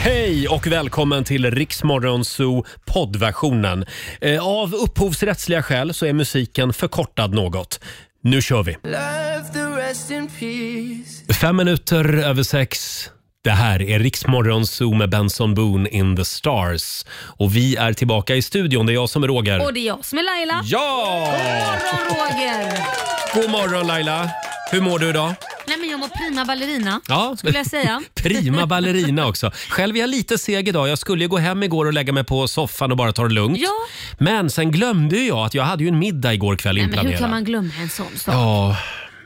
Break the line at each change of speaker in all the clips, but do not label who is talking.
Hej och välkommen till Riksmorgon Zoo poddversionen. Eh, Av upphovsrättsliga skäl så är musiken förkortad något. Nu kör vi! Fem minuter över sex. Det här är Riksmorgon Zoo med Benson Boone in the stars. Och vi är tillbaka i studion. Det är jag som är Roger.
Och det är jag som är Laila.
Ja!
Morgon Roger!
God morgon Laila! Hur mår du idag?
Nej men jag mår prima ballerina.
Ja.
Skulle jag säga.
Prima ballerina också. Själv är jag lite seg idag. Jag skulle ju gå hem igår och lägga mig på soffan och bara ta det lugnt.
Ja.
Men sen glömde ju jag att jag hade ju en middag igår kväll
Nej, men hur
inplanerad.
kan man glömma en sån sak?
Ja,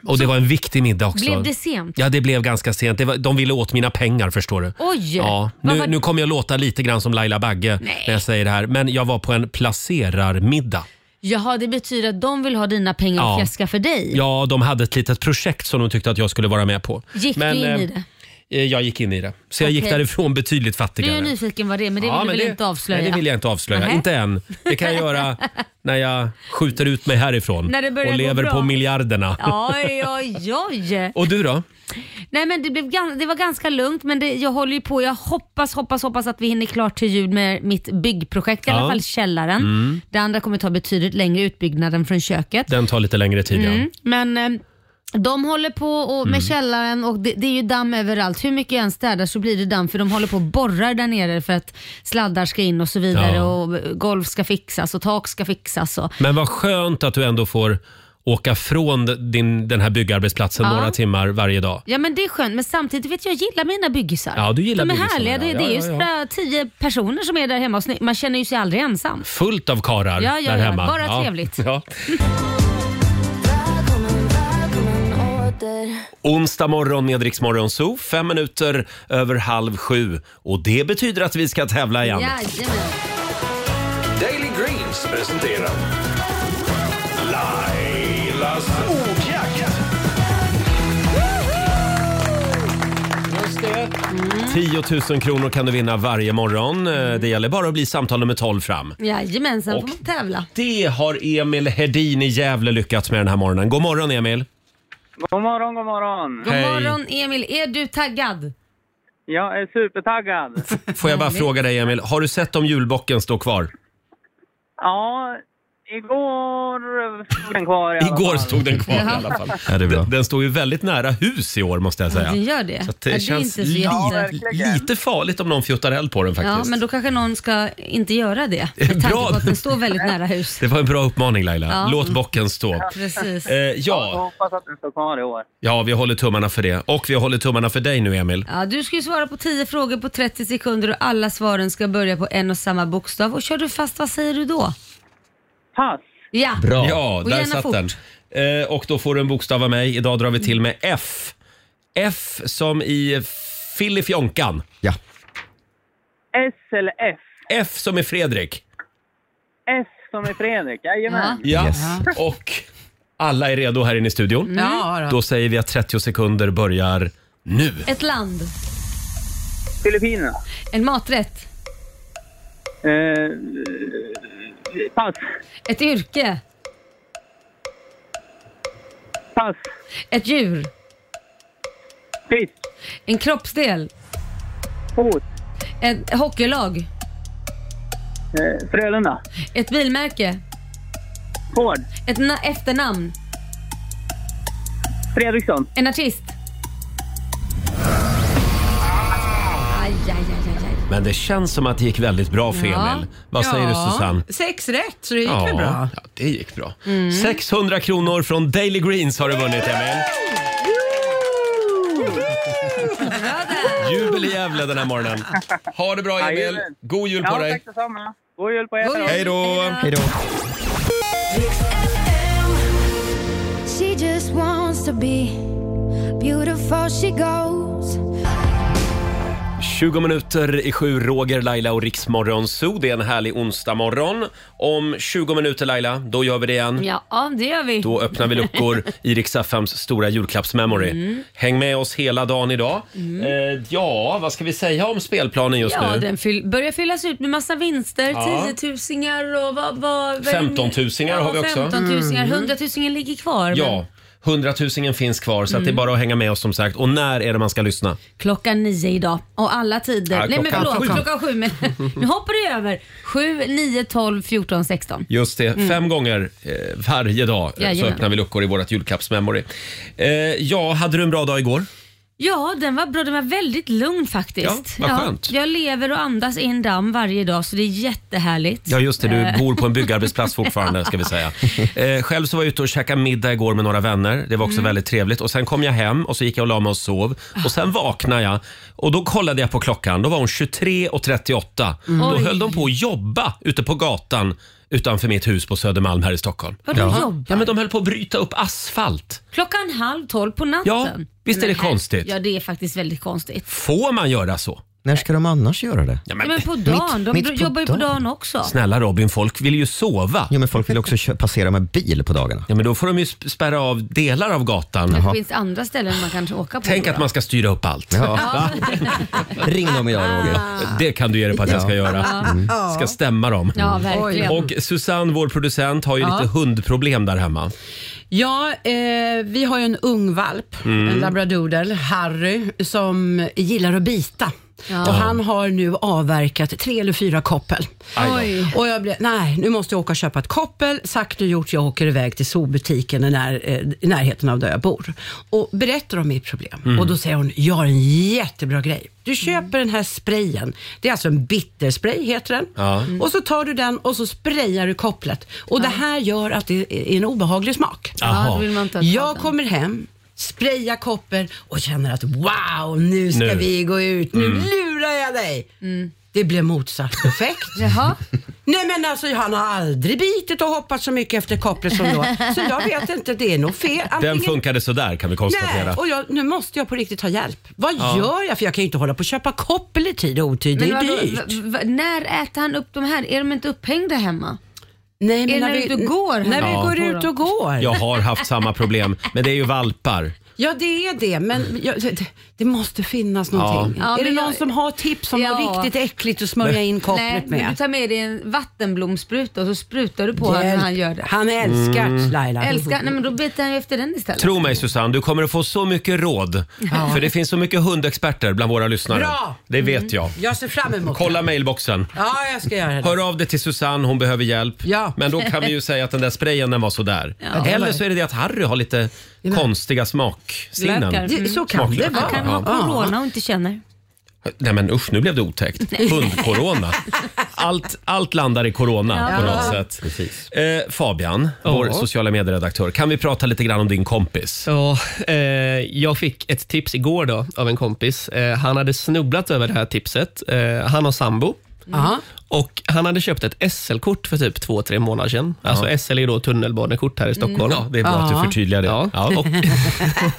och det var en viktig middag också.
Blev det sent?
Ja, det blev ganska sent. Det var, de ville åt mina pengar förstår du.
Oj!
Ja,
Vad
nu,
var-
nu kommer jag låta lite grann som Laila Bagge
Nej.
när jag säger det här. Men jag var på en placerarmiddag.
Jaha, det betyder att de vill ha dina pengar och
Ja.
fjäska för dig.
Ja, de hade ett litet projekt som de tyckte att jag skulle vara med på.
Gick
Men,
du in
eh,
i det?
Eh, Jag gick in i det. Så jag gick
Okej.
därifrån betydligt
Nu är
fattigare.
jag nyfiken vad det är, men det
Ja,
vill
men
du väl inte avslöja?
Nej, det vill jag inte avslöja.
Nähä.
Inte än. Det kan jag göra när jag skjuter ut mig härifrån
När det börjar
och
gå
lever
bra.
på miljarderna.
Oj, oj, oj.
Och du då?
Nej, men det, blev gan- det var ganska lugnt men det, jag håller ju på. Jag hoppas, hoppas, hoppas att vi hinner klart till jul med mitt byggprojekt. I
Ja. Mm.
alla fall källaren. Det andra kommer ta betydligt längre utbyggnaden från köket.
Den tar lite längre tid ja.
Mm. Men eh, de håller på och, med
Mm.
källaren och det, det är ju damm överallt. Hur mycket jag än städar så blir det damm för de håller på och borrar där nere för att sladdar ska in och så vidare
Ja.
och golv ska fixas och tak ska fixas. Och.
Men vad skönt att du ändå får åka från din, den här byggarbetsplatsen
Ja.
några timmar varje dag.
Ja men det är skönt men samtidigt vet jag, jag gillar mina byggisar.
Ja, du gillar
De är
byggisarna,
härliga.
ja.
Det,
Ja,
det är ju
ja, ja.
sådär tio personer som är där hemma och snö- man känner ju sig aldrig ensam.
Fullt av karar
Ja, ja,
där
ja.
hemma.
Bara trevligt.
Ja. Onsdag morgon med Rix Morgon Zoo, fem minuter över halv sju. Och det betyder att vi ska tävla igen.
Jajamän.
Daily Greens presenterar Lailas ordjakt.
10 000 kronor kan du vinna varje morgon. Eh,
Mm.
Det gäller bara att bli samtal nummer 12 fram.
Jajamensan,
Och-
får man tävla.
Det har Emil Hedin i Gävle lyckats med den här morgonen. God morgon Emil!
God morgon, god morgon.
God
Hej.
morgon Emil, är du taggad?
Jag är supertaggad.
Får jag bara fråga dig Emil, har du sett om julbocken står kvar?
Ja, igår stod den kvar i alla
Igår
fall.
stod den kvar i alla fall. Den, den står ju väldigt nära hus i år måste jag säga.
Den gör det.
Så att
Ja,
det
är
känns
inte så
li-
jätte-
verkligen.
lite farligt om någon fjuttar eld på den
Ja,
faktiskt.
men då kanske någon ska inte göra det. Med tanke
Bra.
på att den står väldigt nära hus.
Det var en bra uppmaning Laila.
Ja.
Låt bocken stå.
Precis.
Eh,
Ja. Jag
ja.
hoppas att den står kvar i år.
ja, vi håller tummarna för det. Och vi håller tummarna för dig nu Emil.
Ja, du ska ju svara på 10 frågor på 30 sekunder och alla svaren ska börja på en och samma bokstav. Och kör du fast, vad säger du då?
Pass.
Ja.
Bra. Ja,
Och
där
gärna
satt
fort.
den. Eh, och då får du en bokstav av mig. Idag drar vi till med F. F som i Filifjonkan.
Ja.
S eller F?
F som i Fredrik.
S som i Fredrik, jajamän.
Ja.
Yes.
Och alla är redo här inne i studion.
Mm.
Ja, då.
Då säger vi att 30 sekunder börjar nu.
Ett land.
Filippinerna.
En maträtt.
Eh, pass,
Ett yrke.
pass,
Ett djur.
fisk,
En kroppsdel.
fot,
Ett hockeylag.
eh, Frölunda,
Ett bilmärke.
Ford,
Ett na- efternamn.
Fredriksson,
En artist. Aj, aj, aj, aj, aj.
Men det känns som att det gick väldigt bra för
Ja.
Emil. Vad säger du Susanne?
Sex rätt, så det gick väl bra.
ja, det gick bra. 600 kronor från Daily Greens har du vunnit Emil. Jubel i Gävle den här morgonen. Ha det bra Emil.
Jajamän.
God jul på
Ja,
dig.
tack detsamma. God jul på er.
God jul.
Hej då.
Hej då.
She just wants to be beautiful. She goes.
20 minuter i sju, Roger, Laila och Riksmorgon Zoo. Det är en härlig onsdagmorgon. Om 20 minuter Laila, då gör vi det igen.
Ja, ja, det gör vi.
Då öppnar vi luckor i Rix FMs stora julklappsmemory. Häng med oss hela dagen idag. Eh, ja, vad ska vi säga om spelplanen just
Mm. Ja,
nu?
den fyll, börjar fyllas ut med massa vinster.
Ja.
Tiotusingar och vad... vad vad är det mer?
15-tusingar har vi också. Mm.
15-tusingar. 100-tusingar ligger kvar.
Ja, Hundratusingen finns kvar, så att det är
Mm.
bara att hänga med oss som sagt. Och när är det man ska lyssna?
Klockan nio idag och alla tider.
Ja,
Nej men
klockan
förlåt,
sju.
klockan sju. Men, nu hoppar du över. Sju, nio, tolv, fjorton, sexton.
Just det,
Mm.
fem gånger eh, varje dag eh, så
Jajamän.
öppnar vi luckor i vårt julklappsmemory. Eh, ja, hade du en bra dag igår?
Ja, den var bra. Den var väldigt lugn faktiskt.
Ja, vad skönt.
jag lever och andas in damm varje dag så det är jättehärligt.
Ja, just det.
Eh,
Du bor på en byggarbetsplats fortfarande, ska vi säga. Eh, själv så var jag ute och käkade middag igår med några vänner. Det var också
Mm.
väldigt trevligt. Och Sen kom jag hem och så gick jag och la mig och sov. Och Sen vaknade jag och då kollade jag på klockan. Då var hon 23.38.
Mm.
Då
Oj.
höll de på att jobba ute på gatan utanför mitt hus på Södermalm här i Stockholm.
Vadå
Ja.
jobbar?
Ja, men de höll på att bryta upp asfalt.
Klockan halv tolv på natten.
Ja, visst är det
Men här-
konstigt?
Ja, det är faktiskt väldigt konstigt.
Får man göra så?
När ska de annars göra det?
Ja,
Men, men på dagen. de
mitt på
jobbar ju på
dagen.
dagen också.
Snälla Robin, folk vill ju sova.
Ja, men folk vill också kö- passera med bil på dagarna.
Ja, men då får de ju sp- spärra av delar av gatan.
Det finns andra ställen man kanske åka på.
Tänk
då.
att man ska styra upp allt.
Ja.
Ring dem idag
Ah.
Roger. Det kan du ge dig på att jag ska
Ja.
göra.
Mm.
Ska stämma dem.
Ja, verkligen.
Och Susanne, vår producent, har ju
Ja.
lite hundproblem där hemma.
Ja, eh, vi har ju en ung valp,
Mm.
en labradoodle, Harry, som gillar att bita. Och han har nu avverkat tre eller fyra koppel.
Aj då. Oj.
Och jag blev, nej, nu måste jag åka och köpa ett koppel. Sagt och gjort, jag åker iväg till zoobutiken i, när, eh, i närheten av där jag bor. Och berättar om mitt problem.
Mm.
Och då säger hon, jag har en jättebra grej. Du köper den här sprayen. Det är alltså en bitterspray, heter den.
Ja. Mm.
Och så tar du den och så sprayar du kopplet. Och det här gör att det är en obehaglig smak.
Jaha. Ja, då vill man inte ha
jag kommer hem, sprayar koppel och känner att wow, nu ska
Nu.
vi gå ut. Nu
Mm.
lurar jag dig. Det blev motsatt effekt. Nej men alltså han har aldrig bitit och hoppat så mycket efter kopplet som då. Så jag vet inte, det är nog fel.
Den
Antingen-
funkade sådär kan vi
Nej,
konstatera.
och jag, nu måste jag på riktigt ha hjälp. Vad
Ja.
gör jag? För jag kan ju inte hålla på och köpa koppel i tid och otid.
Men
det är
vadå,
dyrt.
v- v- när äter han upp de här? Är de inte upphängda hemma?
Nej,
är det när, vi, du går?
När
hemma?
vi går ut och går.
Jag har haft samma problem, men det är ju valpar.
Ja, det är det, men jag, det, det måste finnas
Mm. Ja.
någonting.
Ja,
är det
men
någon
jag-
som har tips om något riktigt äckligt att smörja in kopplet
Nej, men
med?
Du tar med dig en vattenblomspruta och så sprutar du på
Hjälp.
honom när han gör det.
Han älskar
Mm.
Laila.
Älskar, nej men då biter han ju efter den istället.
Tro mig Susanne, du kommer att få så mycket råd.
Ja.
För det finns så mycket hundexperter bland våra lyssnare.
Bra! Mm.
Det vet jag.
Jag ser fram emot
Kolla mailboxen.
det. Ja, jag ska göra det.
Hör av dig till Susanne, hon behöver hjälp.
Ja.
Men då kan vi ju säga att den där sprayen den var sådär.
Ja.
Eller så är det det att Harry har lite konstiga smaksinnen.
Glökar. Mm.
Så kan det vara.
Han kan ha
Ja.
corona och inte känner.
Nej men usch, nu blev det otäckt.
Nej.
Hundcorona. Allt, allt landar i corona
Ja.
på något sätt. Eh, Fabian, vår
Ja.
sociala medieredaktör. Kan vi prata lite grann om din kompis?
Ja, eh, jag fick ett tips igår då av en kompis. Eh, han hade snubblat över det här tipset. Eh, han har sambo.
Aha.
Och Han hade köpt ett SL-kort för typ två, tre månader sedan. Alltså SL är då tunnelbanekort här i Stockholm.
Mm. Ja, det är bra att du Ja. förtydligar det.
Ja.
Ja.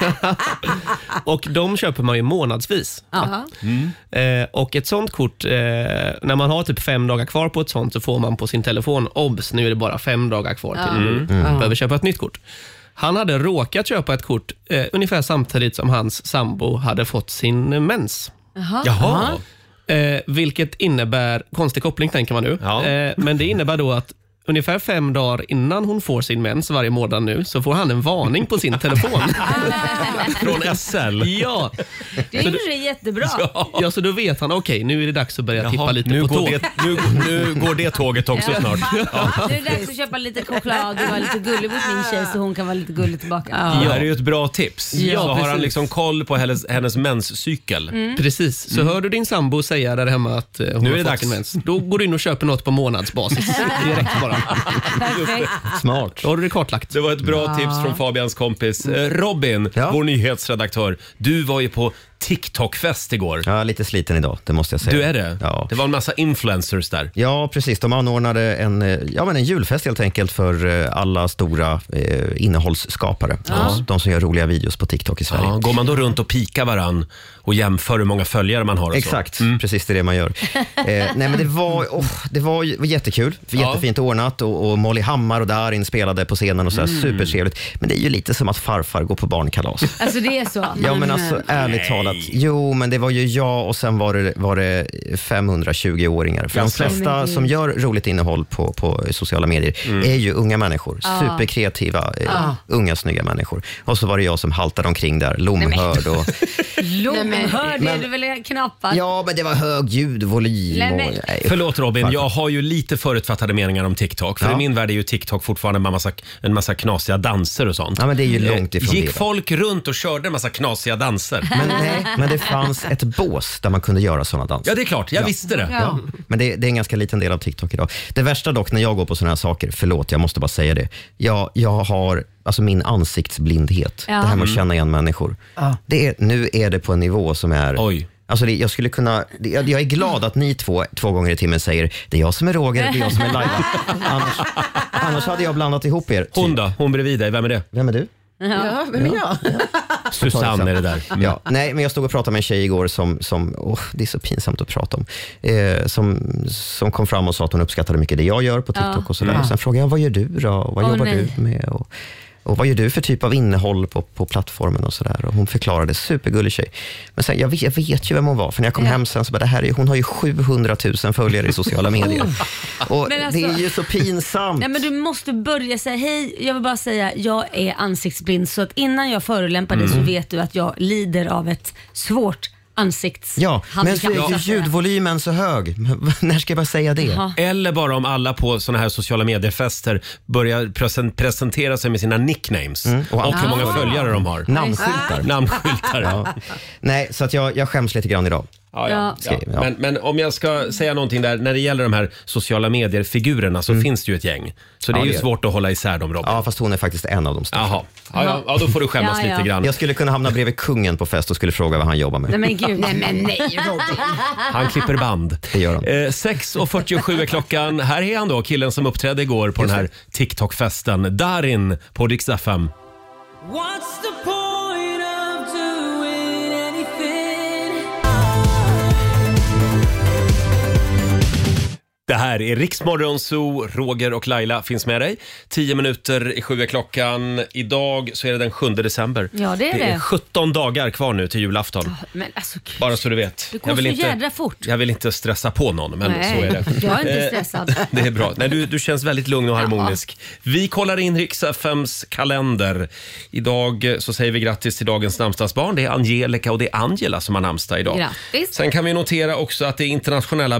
Och, och de köper man ju månadsvis.
Ja.
Eh, och ett sånt kort, eh, när man har typ fem dagar kvar på ett sånt så får man på sin telefon obs, nu är det bara fem dagar kvar till
Ja.
mm.
Mm. Ja.
behöver köpa ett nytt kort. Han hade råkat köpa ett kort eh, ungefär samtidigt som hans sambo hade fått sin eh, mens.
Jaha.
Eh, vilket innebär, konstig koppling tänker man nu, eh, men det innebär då att ungefär fem dagar innan hon får sin mens varje månad nu så får han en varning på sin telefon.
Från SL?
Ja.
Det gjorde det jättebra.
Ja. ja, så då vet han, okej nu är det dags att börja tippa lite
nu
på
går
tåg.
det- nu- nu går det tåget också
Ja.
snart.
Nu är det dags att köpa lite choklad och vara lite gullig mot min tjej så hon kan vara lite gullig tillbaka.
Det här är ju ett bra tips.
Ja,
så har han
precis.
liksom koll på hennes, hennes menscykel.
Mm. Precis, så hör du din sambo säga där hemma att eh, hon
Nu är
har
det
fått
dags.
sin mens, då går du in och köper något på månadsbasis. Direkt bara.
Perfekt.
Smart. Då har du det kartlagt.
Det var ett bra
Ja.
tips från Fabians kompis. Eh, Robin, vår nyhetsredaktör. Du var ju på TikTok-fest igår.
Ja, lite sliten idag, det måste jag säga.
Du är det?
Ja.
Det var en massa influencers där.
Ja, precis. De anordnade en, eh, ja, men en julfest helt enkelt för eh, alla stora eh, innehållsskapare. De, de som gör roliga videos på TikTok i Sverige.
Ja, går man då runt och pikar varann och jämför hur många följare man har? Och Mm.
Exakt, precis det är det man gör. Eh, nej, men det var, oh, det var ju- var jättekul,
Ja.
jättefint ordnat. annat och, och Molly Hammar och Darin spelade på scenen och så här,
Mm.
supertrevligt. Men det är ju lite som att farfar går på barnkalas.
Alltså det är så.
Ja men alltså ärligt
Nej.
talat, jo men det var ju jag och sen var det, var det 520-åringar. För de
Jaså. Men
flesta
gud.
som gör roligt innehåll på, på sociala medier
Mm.
är ju unga människor.
Ja.
Superkreativa, eh,
Ja.
unga snygga människor. Och så var det jag som haltade omkring där, lomhörd och
Lomhörd är
Men-
du väl knappast?
Ja, men det var hög ljudvolym.
Nej,
och-
men-
nej.
Förlåt Robin, jag har ju lite förutfattade meningar om TikTok. För i min värld är ju TikTok fortfarande en massa, en massa knasiga danser och sånt.
Ja, men det är ju
Eh,
långt ifrån
Gick
det, va?
folk runt och körde en massa knasiga danser?
Men, nej, men det fanns ett bås där man kunde göra sådana danser.
Ja, det är klart. Jag visste det.
Ja. Men det, det är en ganska liten del av TikTok idag. Det värsta dock när jag går på sådana här saker, förlåt jag måste bara säga det. Jag, jag har alltså min ansiktsblindhet,
Ja.
det här med att
Mm.
känna igen människor. Det är, nu är det på en nivå som är... Alltså det, jag, skulle kunna, det- jag, jag är glad att ni två, två gånger i timmen säger det är jag som är Roger, det är jag som är Laila. Annars, annars hade jag blandat ihop er. typ.
Hon då? Hon bredvid dig, vem är det?
Vem är du?
Ja, vem är jag?
Susanne är det där. Mm.
Ja, nej, men jag stod och pratade med en tjej igår som, som åh, det är så pinsamt att prata om, eh, som, som kom fram och sa att hon uppskattade mycket det jag gör på TikTok
Ja.
och sådär.
Ja.
Mm.
Och sen frågade jag, vad gör du då? Och Vad
Åh,
jobbar
nej.
du med? Och, och vad gör du för typ av innehåll på, på plattformen och sådär? Och hon förklarade, supergullig tjej. Men sen, jag vet, jag vet ju vem hon var, för när jag kom
Ja.
hem sen så bara, det här är, hon har ju 700 000 följare i sociala medier. och
Oh. Men
det är
alltså-
ju så pinsamt.
Nej men du måste börja säga hej, jag vill bara säga jag är ansiktsblind så att innan jag förolämpar dig så
Mm.
vet du att jag lider av ett svårt
Ja,
ansiktshandikapp.
men så är ju
så att säga.
ljudvolymen så hög. Men När ska jag bara säga det?
Jaha.
Eller bara om alla på såna här sociala mediefester börjar presen- presentera sig med sina nicknames
Mm.
och, hur många följare de har.
Namnskyltar.
Namnskyltar.
Ja. Nej, så att jag, jag skäms lite grann idag.
Ja,
Ja.
ja. Ja. Men, men om jag ska säga någonting där, när det gäller de här sociala medier-figurerna så finns det ju ett gäng. Så det
Mm. Ja,
är ju
det är det.
svårt att hålla isär dem Robin.
Ja, fast hon är faktiskt en av de största.
Jaha, ja, ja, ja, då får du skämmas
Ja, ja.
lite grann.
Jag skulle kunna hamna bredvid kungen på fest och skulle fråga vad han jobbar med.
Nej men gud.
Nej, men nej,
Robin.
Han klipper band.
Det gör han.
Eh, 6.47 är klockan. Här är han då, killen som uppträdde igår på den här TikTok-festen. Darin på Dix FM.
What's the point of doing anything?
Det här är Riksmorgon Zoo. Roger och Laila finns med dig. 10 minuter i sju är klockan. Idag så är det den 7 december.
Ja, det är
Det är
det.
17 dagar kvar nu till julafton.
Men alltså gud,
Bara så du vet.
det går så jädra fort.
jag vill inte stressa på någon, men
Nej,
så är det.
jag är inte
Eh,
stressad.
Det är bra. Nej, du, du känns väldigt lugn och harmonisk. Vi kollar in Rix FMs kalender. Idag eh, så säger vi grattis till dagens namnsdagsbarn. Det är Angelica och det är Angela som har namnsdag idag.
Grattis.
Sen kan vi notera också att det är internationella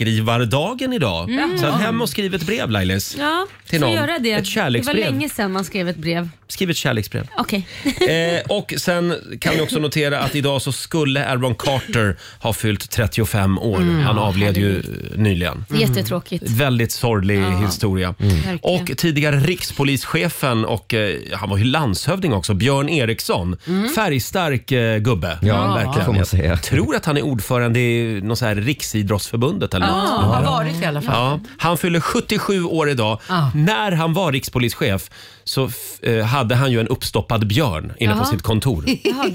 brevskrivardagen idag.
Mm.
Så att hem och skriv ett brev Lailis.
Ja,
Till
så
någon.
göra det.
Ett kärleksbrev.
Det var länge sedan man skrev ett brev.
Skriv ett kärleksbrev.
Okej.
Eh, och sen kan vi också notera att idag så skulle Aaron Carter ha fyllt 35 år.
Mm.
Han
Ja,
avled ju eh, nyligen. Mm.
Jättetråkigt.
Väldigt sorglig
Ja. Mm.
historia.
Verkligen.
Och tidigare rikspolischefen och eh, han var ju landshövding också, Björn Eriksson.
Mm.
Färgstark eh, gubbe.
Ja, det får man säga.
Jag tror att han är ordförande i något så här riksidrottsförbundet eller
Ja,
något.
har varit i alla fall.
Ja, han fyller 77 år idag.
Ja.
När han var rikspolischef så f- eh, hade han ju en uppstoppad björn inne på
Jaha.
sitt kontor.
Jaha.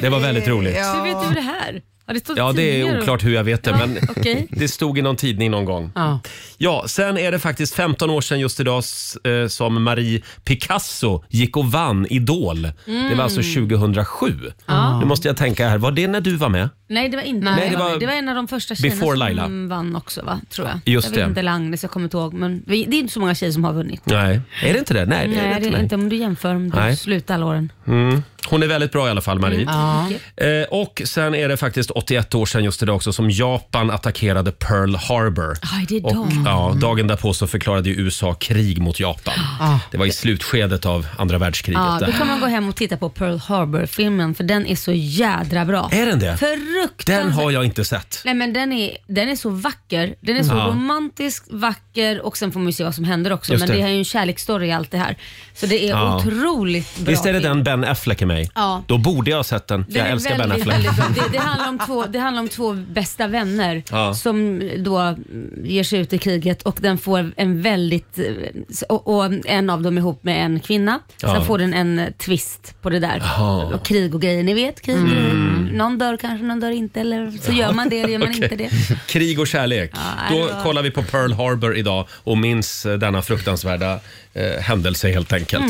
Det var väldigt roligt.
Hur vet du det här? Har det stått
Ja, det
tidningar
är
och-
oklart hur jag vet det,
Ja,
men
okej.
det stod i någon tidning någon gång.
Ja.
Ja, sen är det faktiskt 15 år sedan just idag s- eh, som Marie Picasso gick och vann Idol. Det var alltså 2007.
Mm. Ja.
Nu måste jag tänka här, var det när du var med?
Nej, det var inte.
Nej, det
det,
var
var, det var en av de första
before
tjejerna
Laila.
som vann också, va? tror jag.
Just
jag
det.
vet inte, eller Agnes, jag kommer inte ihåg. Men vi- det är inte så många tjejer som har vunnit.
Nej, är det inte det? Nej,
Nej, det är
nej.
inte om du jämför om du
Nej.
slutar alla åren.
Mm. Hon är väldigt bra i alla fall, Marie.
Mm. Ja.
Eh, och sen är det faktiskt 81 år sedan just idag också som Japan attackerade Pearl Harbor.
Aj, det är Mm.
Och,
dem.
ja, dagen därpå så förklarade ju USA krig mot Japan.
Ah.
Det var i slutskedet av andra världskriget.
Ja,
det
då
här.
kan man gå hem och titta på Pearl Harbor-filmen för den är så jädra bra.
Är den det?
Fruktansvärt.
Den har jag inte sett.
Nej men den är, den är så vacker. Den är så
Ja.
romantisk, vacker och sen får man ju se vad som händer också.
Just
men
det.
det är ju en kärleksstory i allt det här. Så det är
Ja.
otroligt bra.
Visst är det
film.
den Ben Affleck är med mig.
Ja.
Då borde jag ha sett den.
Den
Jag
är
älskar Ben
väldigt,
Affleck.
väldigt bra. det, det, handlar om två, det handlar om två bästa vänner
Ja.
som då mm, ger sig ut i kriget och den får en väldigt... eh, s- Och, och en av dem är ihop med en kvinna. Sen
Ja.
får den en eh, twist på det där.
Jaha.
Och krig och grejer, ni vet krig.
Mm.
Mm. Någon dör kanske, någon dör inte. Eller så gör man det eller gör man
Okej.
inte det.
Krig och kärlek.
Ja,
Då
det var-
kollar vi på Pearl Harbor idag och minns eh, denna fruktansvärda eh, händelse helt enkelt.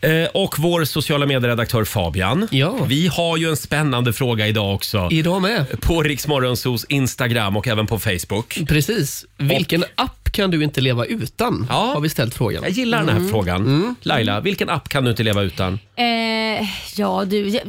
Mm.
Eh, och vår sociala medieredaktör Fabian. Vi har ju en spännande fråga idag också.
Idag med.
På Riksmorgonsos Instagram och även på Facebook.
Precis. Vilken app kan du inte leva utan? Har vi ställt frågan.
Jag gillar den här
Mm.
frågan. Laila, vilken app kan du inte leva utan?
Eh, ja du, ja,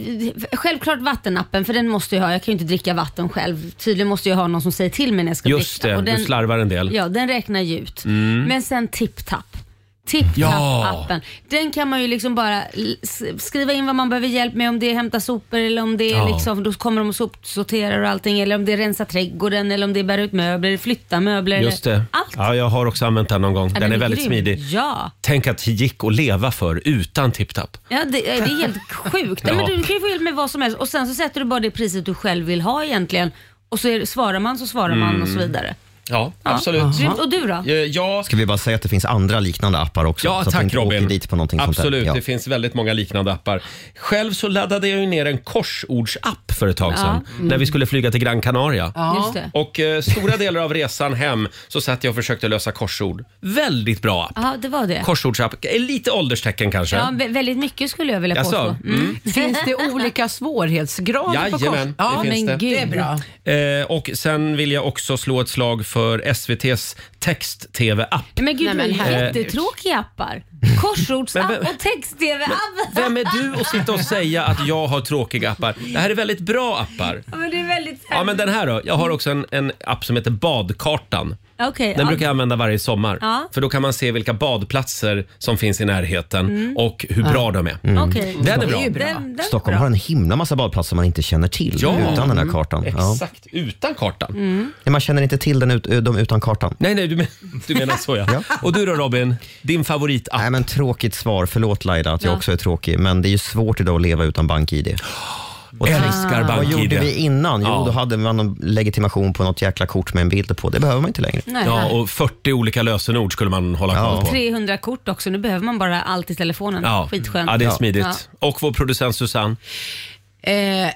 självklart vattenappen för den måste jag ha. Jag kan ju inte dricka vatten själv. Tydligen måste jag ha någon som säger till mig när jag ska
Just
dricka.
det,
Och den,
du slarvar en del.
Ja, den räknar ju ut.
Mm.
Men sen tipptapp. Tipptapp
Ja.
appen. Den kan man ju liksom bara l- s- skriva in vad man behöver hjälp med. Om det är hämta sopor eller om det är
Ja.
liksom, då kommer de och sopsorterar och allting. Eller om det är rensa trädgården eller om det är bära ut möbler, flytta möbler.
Just det.
Allt.
Ja, jag har också använt den någon gång.
Ja,
Den är väldigt
grym.
smidig.
Ja.
Tänk att det gick att leva för utan TipTap.
Ja, det, det är helt sjukt. Nej,
Ja.
Men du kan ju få hjälp med vad som helst och sen så sätter du bara det priset du själv vill ha egentligen och så är, svarar man så svarar man och så
Mm.
vidare.
Ja,
Grymt. Och du då?
Eh, Ja.
Ska vi bara säga att det finns andra liknande appar också?
Ja,
så att vi
tack
inte åker
Robin.
dit på någonting sånt
Absolut,
där. Ja.
det finns väldigt många liknande appar. Själv så laddade jag ju ner en korsordsapp för ett tag
Ja.
sedan
Mm.
när vi skulle flyga till Gran Canaria.
Ja. Just det.
Och eh, stora delar av resan hem så satt jag och försökte lösa korsord. Väldigt bra app.
Ja, det var det.
Korsordsapp, eh, lite ålderstecken kanske.
Ja, vä- väldigt mycket skulle jag vilja
Jaså?
påstå.
Mm.
Finns det olika svårighetsgrader på kors?
Jajamän,
Ja,
det finns
men
det.
gud. Det är bra.
Eh, och sen vill jag också slå ett slag för SVTs text-tv-app.
Men gud,
Nej, men
det är ju
herregud.
jättettråkiga appar. Korsordsapp
Men vem-
och text-tv-app.
Vem är du att sitta och säga att jag har tråkiga appar? Det här är väldigt bra appar.
Ja, men det är väldigt
Ja, men den här då. Jag har också en, en app som heter Badkartan.
Okej,
Den
ja.
brukar jag använda varje sommar.
Ja.
För då kan man se vilka badplatser som finns i närheten
Mm.
och hur bra de är.
Mm.
Okej.
Den är bra.
ju Den, den,
Stockholm har en himla massa badplatser man inte känner till
Ja.
utan den här
Mm.
kartan. Ja.
Exakt, utan kartan.
Mm.
Nej, man känner inte till den ut, de utan kartan.
Nej, nej, du, men, du menar så ja. Och du då Robin, din favoritapp?
Nej, men tråkigt svar. Förlåt Laila att jag
Ja.
också är tråkig, men det är ju svårt idag att leva utan bank-id. Och
Älskar
tänk, Vad
BankID.
gjorde vi innan? Jo,
Ja.
då hade man en legitimation på något jäkla kort med en bild på. Det behöver man inte längre.
Nej,
Ja,
nej.
och 40 olika lösenord skulle man hålla koll på.
300 kort också. Nu behöver man bara allt i telefonen.
Ja.
Skitskönt.
ja, det är smidigt.
Ja.
Och vår producent Susanne.
Eh,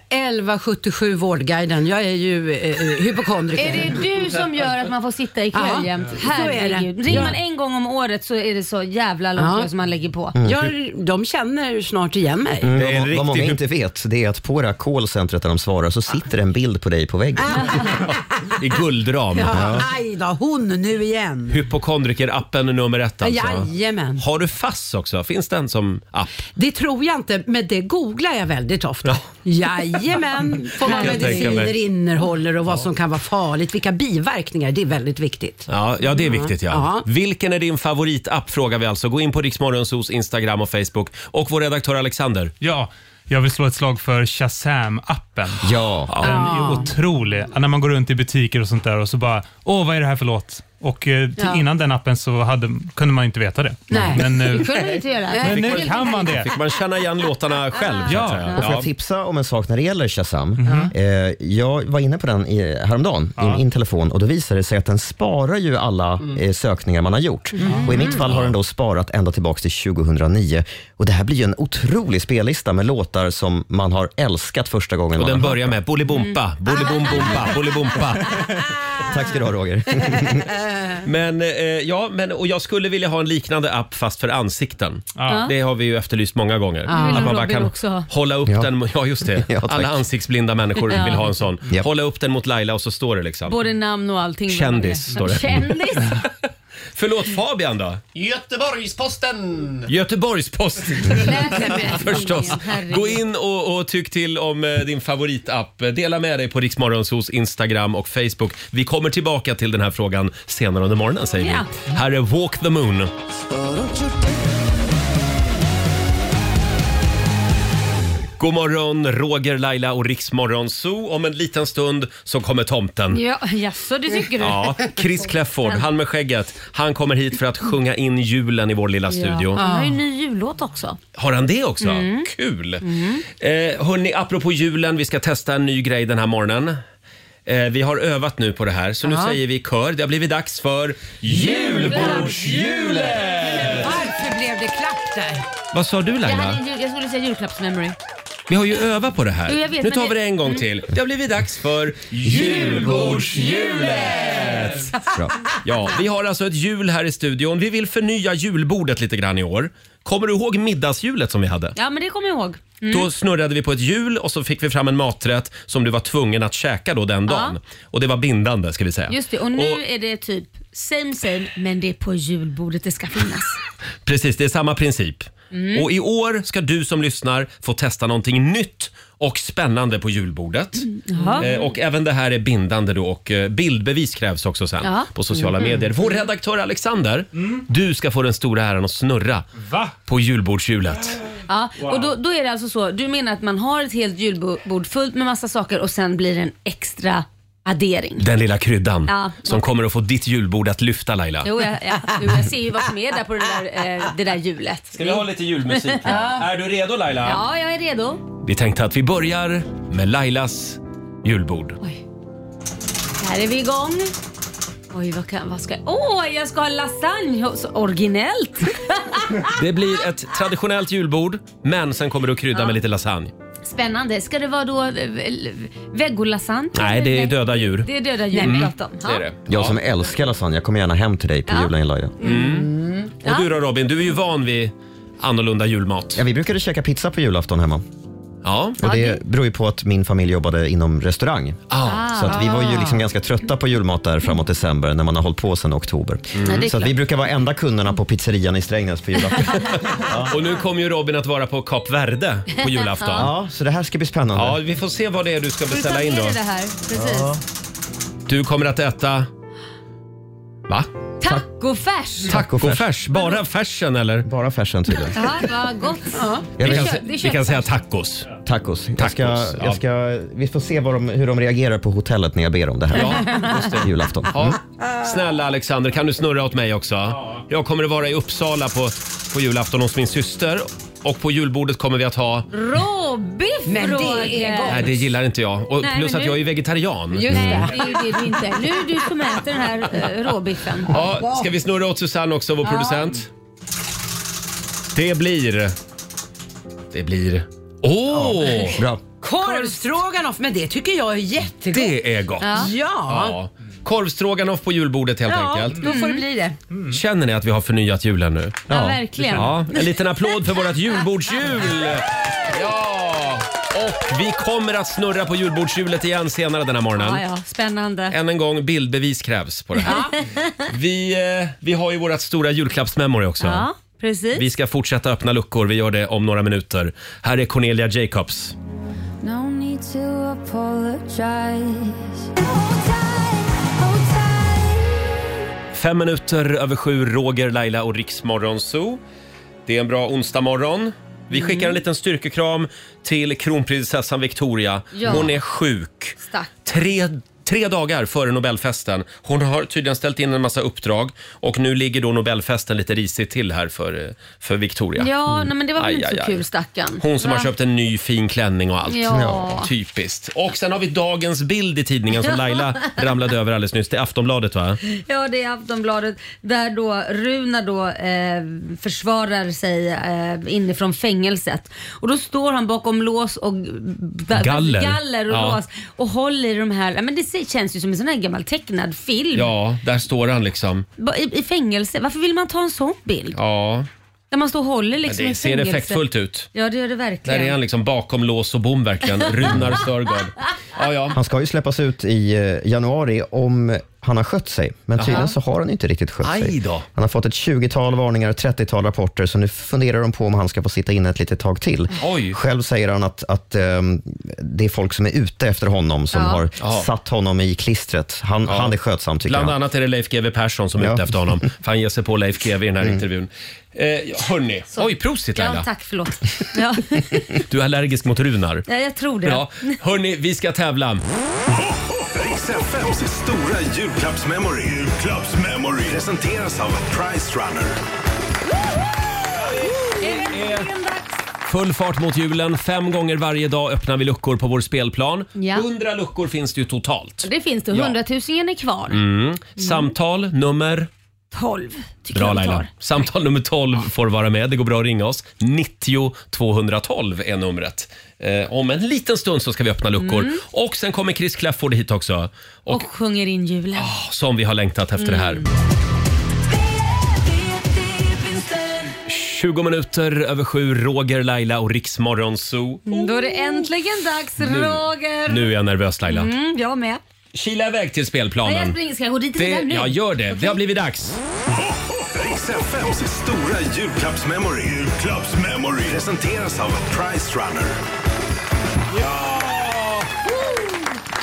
1177 Vårdguiden. Jag är ju eh, hypokondriker.
Är det du som gör att man får sitta i kö
Ja,
jämt?
så är det.
Herregud. Ringer
Ja.
man en gång om året så är det så jävla lång
Ja. Mm.
kö som man lägger på.
Mm.
Jag, de känner ju snart igen mig.
Mm, vad, vad många inte vet, det är att på det här callcentret där de svarar så sitter en bild på dig på väggen.
I guldram.
Ja, aj då, hon nu igen.
Hypokondriker-appen nummer ett alltså.
Jajamän.
Har du FASS också? Finns den som app?
Det tror jag inte, men det googlar jag väldigt ofta. Jajamän, får
Kan
vad
jag tänka
mediciner
mig.
innehåller och vad som kan vara farligt, vilka biverkningar, det är väldigt viktigt.
Ja, ja det är
Ja.
viktigt ja.
Ja.
Vilken är din favoritapp frågar vi alltså. Gå in på Riksmorgonsos Instagram och Facebook. Och vår redaktör Alexander.
Ja, jag vill slå ett slag för Shazam-appen.
Ja.
Den
Ah.
är otrolig. När man går runt i butiker och sånt där och så bara, åh vad är det här för låt? Och eh, till,
Ja.
innan den appen så hade, kunde man ju inte veta det.
Nej,
Men nu,
det kunde vi inte göra.
men nu kan man det.
Fick man känna igen låtarna själv? så att säga.
Och får jag tipsa om en sak när det gäller Shazam?
Mhm.
Eh, jag var inne på den i, häromdagen i min telefon och då visade det sig att den sparar ju alla
Mm.
eh, sökningar man har gjort. Och I mitt fall har den då sparat ända tillbaka till 2009. Och Det här blir ju en otrolig spellista med låtar som man har älskat första gången
Och
man
den
har hört
börjar
dem.
med Bolibompa, Bolibombompa, Bolibompa.
Tack ska du ha Roger.
Men, eh, ja, men, och jag skulle vilja ha en liknande app fast för ansikten.
Ja.
Det har vi ju efterlyst många gånger.
Det vill nog
man
Robin också ha.
hålla upp
Ja.
den. Ja, just det.
Ja, tack.
Alla ansiktsblinda människor
Ja.
vill ha en sån. Hålla upp den mot Laila och så står det liksom.
Både namn och allting.
Kändis, står det.
Mm.
Kändis?
Förlåt Fabian då?
Göteborgsposten!
Göteborgsposten. Förstås.
Herregud.
Gå in och, och tyck till om eh, din favoritapp. Dela med dig på Riksmorgonsos Instagram och Facebook. Vi kommer tillbaka till den här frågan senare under morgonen säger vi.
Ja.
Här är Walk the Moon. God morgon, Roger, Laila och Riksmorgon Zoo. Om en liten stund så kommer tomten.
Ja, jaså det tycker du?
Ja, Chris Clefford, han med skägget, han kommer hit för att sjunga in julen i vår lilla
Ja.
studio.
Han har ju en ny jullåt också.
Har han det också?
Mm.
Kul! Eh, hörni, apropå julen, vi ska testa en ny grej den här morgonen. Eh, vi har övat nu på det här, så nu
Ja.
säger vi i kör. Det har blivit dags för julbordshjulet!
Varför blev det klapp där?
Vad sa du
Jag,
Laila?
hade, en jul- jag skulle säga julklappsmemory.
Vi har ju övat på det här.
Jo, jag vet,
nu
men
tar
det-
vi det en gång
Mm.
till. Det har blivit dags för julbordshjulet! Bra. Ja, vi har alltså ett jul här i studion. Vi vill förnya julbordet lite grann i år. Kommer du ihåg middagshjulet som vi hade?
Ja, men det kommer jag ihåg. Mm.
Då snurrade vi på ett hjul och så fick vi fram en maträtt som du var tvungen att käka då den
Ja.
dagen. Och det var bindande ska vi säga.
Just det, och nu är det typ same same, men det är på julbordet det ska finnas.
Precis, det är samma princip.
Mm.
Och i år ska du som lyssnar få testa någonting nytt och spännande på julbordet.
Mm. Jaha.
Eh, och även det här är bindande då och eh, bildbevis krävs också sen
Ja.
på sociala
Mm.
medier. Vår redaktör Alexander, du ska få den stora äran att snurra på julbordshjulet.
Ja,
Wow.
och då, då är det alltså så, du menar att man har ett helt julbord fullt med massa saker och sen blir det en extra addering?
Den lilla kryddan
Ja.
som kommer att få ditt julbord att lyfta Laila.
Jo, jag, jag, jo, jag ser ju vad som är där på det där, eh, det där hjulet.
Ska vi ha lite julmusik?
Ja.
Är du redo Laila?
ja, jag är redo.
Vi tänkte att vi börjar med Lailas julbord.
Här är vi igång. Oj, vad, kan, vad ska jag... Åh, jag ska ha lasagne! Så originellt!
Det blir ett traditionellt julbord, men sen kommer du att krydda med lite lasagne.
Spännande. Ska det vara då eh, v- vegolasagne?
Nej, det är döda djur.
Det är döda
Mm.
djur vi pratar om. Ja.
Jag som älskar lasagne, jag kommer gärna hem till dig på
Ja.
julen Laila.
Mm.
Och du då Robin, du är ju van vid annorlunda julmat.
Ja, vi brukade käka pizza på julafton hemma.
Ja.
Och det beror ju på att min familj jobbade inom restaurang.
Ah.
Så att vi var ju liksom ganska trötta på julmat där framåt december när man har hållit på sedan oktober.
Mm. Ja, det är
Så att vi
klart.
brukar vara enda kunderna på pizzerian i Strängnäs på julafton.
Och nu kommer ju Robin att vara på Kap Verde på julafton.
Ja, så det här ska bli spännande.
Ja, vi får se vad det är du ska
Får du ta
beställa in
med
då.
dig det här? Precis.
Ja. Du kommer att äta... Va?
Tacofärs!
Tacofärs? Bara färsen eller?
Bara färsen tydligen.
Ja, vad gott.
Jag
Vi
vet-
kan,
Det
sä-
är
vi
kött-
kan säga tacos.
Tacos. Jag ska,
Tacos, ja.
jag ska, vi får se vad de, hur de reagerar på hotellet när jag ber om det här.
Ja, just det.
Julafton.
Ja.
Mm.
Snälla Alexander, kan du snurra åt mig också? Jag kommer att vara i Uppsala på, på julafton hos min syster och på julbordet kommer vi att ha
Råbiff
Men det är
Roger.
Nej, det gillar inte jag. Och
Nej,
plus
men
att
nu-
jag är vegetarian. Mm.
Just det, det är ju det du inte är. Nu är det du som äter den här eh, råbiffen.
Ja, ska vi snurra åt Susanne också, vår
Ja.
producent? Det blir... Det blir... Åh!
Bra.
Korvstroganoff, men det tycker jag är jättegott.
Det är gott.
Ja.
Ja. Korvstroganoff på julbordet helt
Ja,
Mm.
enkelt. Mm.
då får det bli det.
Känner ni att vi har förnyat julen nu?
Ja, verkligen.
Ja, en liten applåd för vårt julbordshjul! Ja! Och vi kommer att snurra på julbordshjulet igen senare den här morgonen.
Ja, ja, spännande.
Än en gång, bildbevis krävs på det här. Vi, eh, vi har ju vårt stora julklappsmemory också.
Ja, precis.
Vi ska fortsätta öppna luckor. Vi gör det om några minuter. Här är Cornelia Jacobs.
No need to apologize.
Fem minuter över sju, Roger, Laila och Riksmorgon Zoo. Det är en bra onsdagmorgon. Vi
Mm.
skickar en liten styrkekram till kronprinsessan Victoria.
Ja.
Hon är sjuk.
Stack.
Tre, tre dagar före Nobelfesten. Hon har tydligen ställt in en massa uppdrag och nu ligger då Nobelfesten lite risigt till här för, eh, för Victoria. Mm.
Ja, nej, men det var väl
Aj,
inte så
aj, aj.
kul stackarn.
Hon som
Va?
har köpt en ny fin klänning och allt.
Ja. Ja.
Typiskt. Och sen har vi dagens bild i tidningen som Laila ramlade över alldeles nyss. Det är Aftonbladet va?
Ja, det är Aftonbladet där då Runa då eh, försvarar sig eh, inifrån fängelset. Och då står han bakom lås och
Galler.
galler och
Ja.
lås och håller i de här, ja, men det ser- känns ju som en sån här gammal tecknad film.
Ja, där står han liksom.
Ba- I, I fängelse, varför vill man ta en sån bild?
Ja,
Där man står och håller liksom
det
i
ser
fängelse.
effektfullt ut.
Ja, det gör det
Där
verkligen.
är han liksom bakom lås och bom verkligen. Runar Sörgård. Ja, ja.
Han ska ju släppas ut i eh, januari om han har skött sig, men
Jaha.
tydligen så har han inte riktigt skött
Aj
sig.
då.
Han har fått ett 20-tal varningar och 30-tal rapporter, så nu funderar de på om han ska få sitta inne ett litet tag till. Själv säger han att, att ehm, det är folk som är ute efter honom som
Ja.
har
Ja.
satt honom i klistret. Han, han är skötsam tycker
Bland
han.
annat är det Leif GW Persson som är
Ja.
ute efter honom. För han ger sig på Leif GW i den här
Mm.
intervjun. Eh, hörni, oj prosit
Ja,
Laila.
tack, förlåt. Ja,
Du är allergisk mot runar.
ja, jag tror det.
Ja, hörni, vi ska tävla.
Riks FMs stora julklappsmemory. Julklappsmemory. Presenteras av Price Runner.
Full fart mot julen. Fem gånger varje dag öppnar vi luckor på vår spelplan.
Ja.
100 luckor finns det ju totalt.
Det finns det.
Ja.
Hundratusingen är kvar.
Mm. Samtal nummer?
12 tycker
Bra
jag vi tar.
Laila. Samtal nummer 12 får vara med. Det går bra att ringa oss. 90 212 är numret. Eh, om en liten stund så ska vi öppna luckor.
Mm.
Och sen kommer Chris Clafford hit också.
Och,
Och
sjunger in julen.
som vi har längtat efter det här.
Mm.
20 minuter över sju, Roger, Laila och Riksmorgon Zoo.
Då är det äntligen dags,
Mm. Nu-
Roger.
Nu är jag nervös Laila.
Mm, jag med.
Kila iväg till
Nej, jag
spelplanen.
springer. Ska jag gå dit
Det,
redan nu?
ja, gör det. Det har blivit dags.
Riks FMs stora julklappsmemory. Julklappsmemory. Presenteras av Price Runner.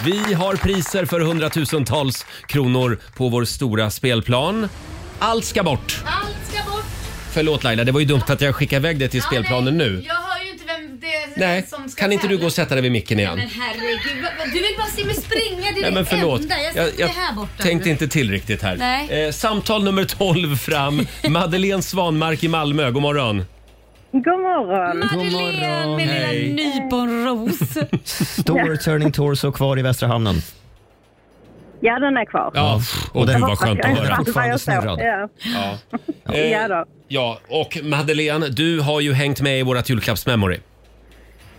Vi har priser för hundratusentals kronor på vår stora spelplan. Allt ska bort.
Allt ska bort.
Förlåt Laila, det var ju dumt att jag skickade iväg dig till spelplanen nu.
Jag hör ju inte vem det är
Nej,
som ska
kan inte du
tävla.
gå och sätta dig vid micken igen?
Men herregud, vad- vad- du vill bara se mig springa. Det är
Nej,
det
men förlåt.
enda. Jag,
Jag,
sitter
jag
här borta.
tänkte
nu.
inte till riktigt här.
Nej.
Eh, samtal nummer 12 fram. Madeleine Svanmark i Malmö, god morgon.
God morgon.
Madeleine med lilla
Hej.
nyponros.
Stor turning torso kvar i Västra hamnen.
Ja, den är kvar.
Ja, och
den
gud vad skönt att
Jag
höra.
fattar
Fortfarande
jag så.
snurrad.
Ja.
Ja.
Ja,
Eh,
då.
ja, och Madeleine, du har ju hängt med i vårt julklappsmemory.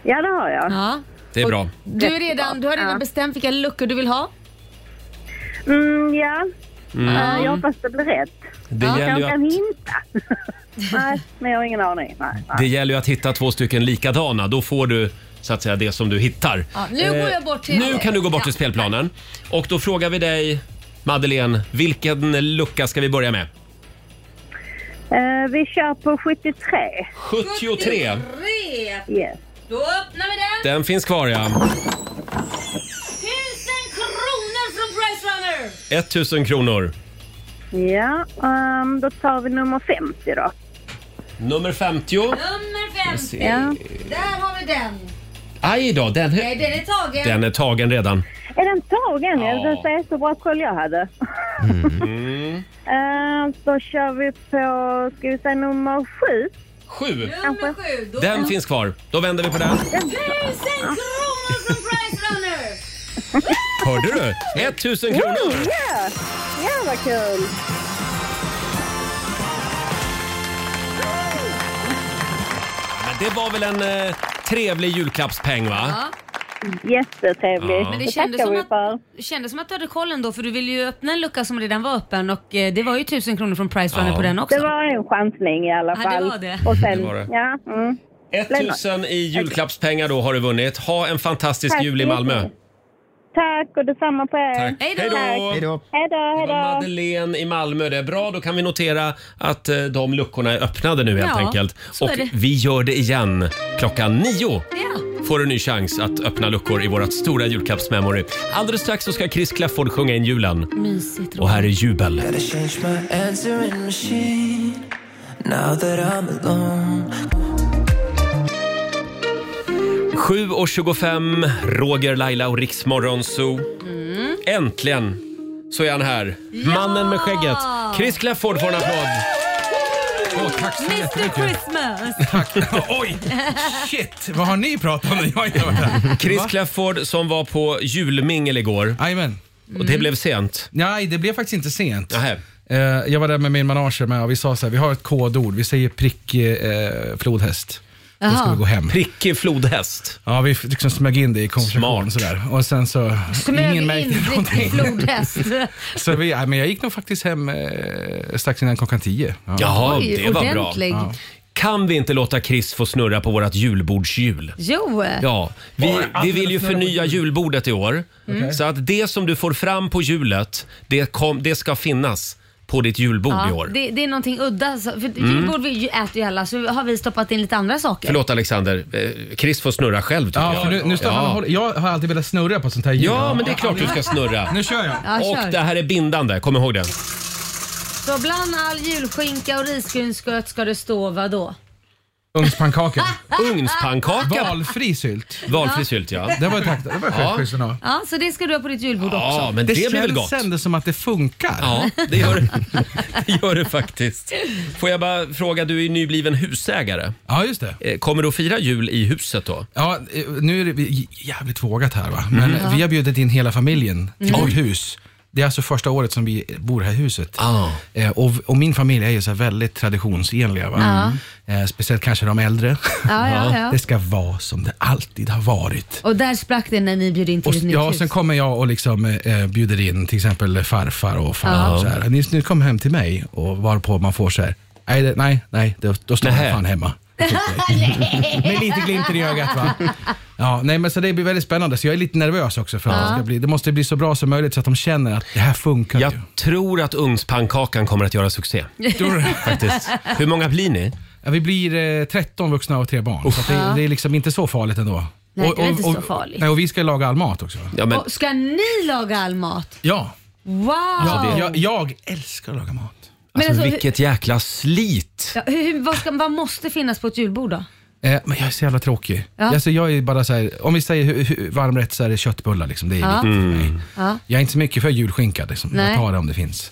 ja, det har jag.
Det är bra.
Du, är redan, du har redan
Ja.
bestämt vilka luckor du vill ha.
Mm, ja.
Mm.
Eh, Jag hoppas det blir rätt.
Det
jag
gäller ju
kanske
att
kan hinta. nej, men jag har ingen aning. Nej, nej.
Det gäller ju att hitta två stycken likadana. Då får du så att säga det som du hittar. Eh,
Ja, nu går jag bort till-
Nu kan du gå bort
Ja.
till spelplanen. Och då frågar vi dig, Madeleine, vilken lucka ska vi börja med?
Eh, vi kör på 73.
73.
Yes.
Då öppnar vi den.
Den finns kvar ja.
Tusen kronor från Price Runner!
1000 kronor.
Ja, ehm, då tar vi nummer 50 då.
Nummer 50.
Nummer 50.
Ja.
Där har vi den.
Aj då, den,
Nej, den är tagen.
den är tagen redan.
Är den tagen? Ja. Det är så bra koll jag hade.
Mm.
Eh, då kör vi på, ska vi säga nummer 7?
Sju?
Nummer
7.
Den finns kvar. Då vänder vi på den.
Tusen kronor från Price Runner!
Hörde du? 1000 kronor!
Ja, ja vad kul!
Men det var väl en eh, trevlig julklappspeng va?
Jättetrevligt.
Ja. Men det
det
kändes
tackar
som
vi
att-
för.
Det kändes som att du hade koll ändå för du ville ju öppna en lucka som redan var öppen och eh, det var ju tusen kronor från Price Runner på den också.
Det var en chansning i alla
Ja,
fall.
det var det.
Och sen,
Det var det.
Ja, mm. Blev något.
1000 i julklappspengar då har du vunnit. Ha en fantastisk
Tack
jul i
så
Malmö.
jättemycket. Tack och detsamma på er.
Tack. Hej då.
Tack.
Hej då.
Hej då, hej
Det var
då.
Madeleine i Malmö. Det är bra, då kan vi notera att eh, de luckorna är öppnade nu helt
Ja,
enkelt.
så
Och
är det.
vi gör det igen klockan nio.
Ja.
Får en ny chans att öppna luckor i vårt stora julklappsmemory. Alldeles strax så ska Chris Clafford sjunga in julen.
Mm. Mysigt.
Och här är jubel.
Now that I'm alone
7.25, Roger, Laila och Riksmorgon Zoo.
Mm.
Äntligen så är han här. Mannen med skägget. Chris Clafford får en applåd. Åh, tack så
Mr Christmas!
Oj! Shit, vad har ni pratat om? Jag har inte varit här.
Chris
Va?
Clafford som var på julmingel igår.
Jajamän.
Och det blev sent.
Nej, det blev faktiskt inte sent. Eh, Jag var där med min manager med och vi sa så här, vi har ett kodord, vi säger prick eh, flodhäst. Då ska
Jaha.
vi gå hem.
Prickig flodhäst?
Ja, vi liksom smög in det i konversationen sådär. Och sen så,
Smög
ingen
in
märkte
riktig
någonting.
flodhäst.
Så vi, ja, men jag gick nog faktiskt hem eh, strax innan klockan tio. Ja.
Jaha, Oj, det var bra. ordentlig.
Ja.
Kan vi inte låta Chris få snurra på vårt julbordshjul?
Jo! eh.
Ja, vi, vi vill ju förnya julbordet i år.
Mm.
Så att det som du får fram på julet, det, kom, det ska finnas på ditt julbord i år.
Det, det är någonting udda. alltså. För
Mm.
julbord vill ju, äter ju alla så har vi stoppat in lite andra saker.
Förlåt Alexander, Eh, Chris får snurra själv tycker
Ja,
jag.
för nu, nu står han och håller, jag har alltid velat snurra på sånt här ljud.
Ja, men det är klart du ska snurra.
Nu kör jag.
Ja, kör.
Och det här är bindande, kom ihåg det.
Så bland all julskinka och risgrynsgröt ska det stå vad då?
Ugnspannkaka.
Ugnspannkaka.
Valfri sylt.
Valfri sylt, ja.
Det var, tack, det var
Ja.
skönt schysst ändå.
Ja, så det ska du ha på ditt julbord också.
men det blir väl
känns
gott.
ändå som att det funkar.
Ja, det gör, det gör det faktiskt. Får jag bara fråga, du är ju nybliven husägare.
Ja, just
det. Kommer du att fira jul i huset då?
Ja, eh, nu är det j- jävligt vågat här va. Men
Mm.
vi har bjudit in hela familjen till
Mm.
vårt hus. Det är alltså första året som vi bor här i huset.
Ah.
Eh, och, och min familj är ju så här väldigt traditionsenliga. Va? Eh, speciellt kanske de äldre.
Ja, ja, ja.
Det ska vara som det alltid har varit.
Och där sprack det när ni bjöd in till
Och,
ett nytt
ja,
hus.
sen kommer jag och liksom, eh, bjuder in till exempel farfar och farmor.
Ja.
Så här. Ni, nu kom hem till mig och varpå man får så här. Nej, det, nej, nej, då, då står jag fan hemma. Med lite glimten i ögat va? Ja, nej, men så det blir väldigt spännande. Så jag är lite nervös också för att
Ja.
det, ska bli, det måste bli så bra som möjligt så att de känner att det här funkar
Jag
ju.
tror att ugnspannkakan kommer att göra succé.
Tror du?
Faktiskt. Hur många blir ni?
Ja, vi blir eh, 13 vuxna och tre barn. Så att det,
Ja.
det är liksom inte så farligt ändå.
Nej,
och,
det är inte
och,
så
och,
farligt.
Nej, och vi ska laga all mat också. Ja,
Och ska ni laga all mat?
ja.
Wow!
jag, jag älskar att laga mat.
Men alltså, vilket
jäkla slit!
Ja, hur, hur, vad, ska, vad måste finnas på ett julbord då?
Eh, men jag är så jävla tråkig.
Ja.
Alltså, jag är bara så här, om vi säger hu- hu- varmrätt så är det köttbullar. Liksom. Det är
Ja.
viktigt för mig.
Mm.
Ja.
Jag är inte så mycket för julskinka. Liksom.
Nej.
Jag tar det om det finns.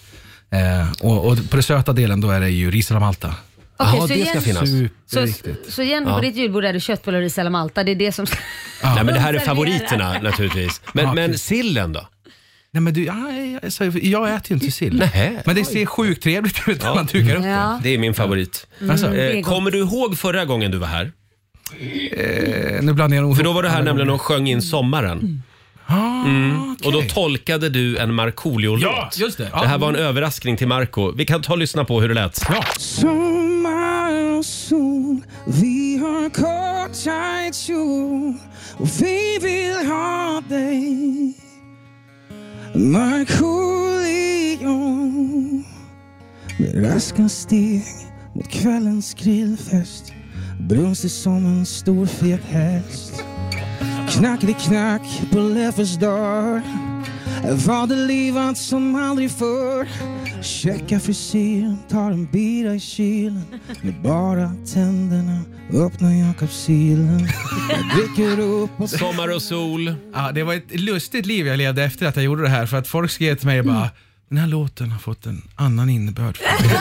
Eh, och, och på den söta delen då är det ju ris alla malta.
Okej, så igen- Så,
Superviktigt.
så igen på
Ja.
ditt julbord är det köttbullar och ris alla malta. Det är det som ska...
Nej, men det här är favoriterna naturligtvis. Men, men sillen då?
Nej, men du, jag, alltså, jag äter ju inte sill. Men det ser sjukt trevligt ut när man dukar upp
Ja.
Mm. Det är min favorit.
Mm, Alltså. det är
eh,
gott.
kommer du ihåg förra gången du var här?
det. Eh, nu blandar jag nog
För då var du här
alla
nämligen
gånger.
och sjöng in sommaren. Mm. Och då tolkade du en Markoolio-låt.
Ah, Ja, just det. Ja.
Det här var en överraskning till Marco. Vi kan ta och lyssna på hur det lät.
Sommar och sol, vi har kort tight kjol och vi vill ha dig Markoolio Med raska steg mot kvällens grillfest Brunstig som en stor fet häst Knackeli-knack på Leffers dörr Vad det livat som aldrig förr Checka frisyren, tar en bira i kylen Med bara tänderna öppnar jag kapsylen Jag dricker upp och
Sommar och sol.
Ja, det var ett lustigt liv jag levde efter att jag gjorde det här. För att folk skrev till mig och bara, den här låten har fått en annan innebörd. för mig."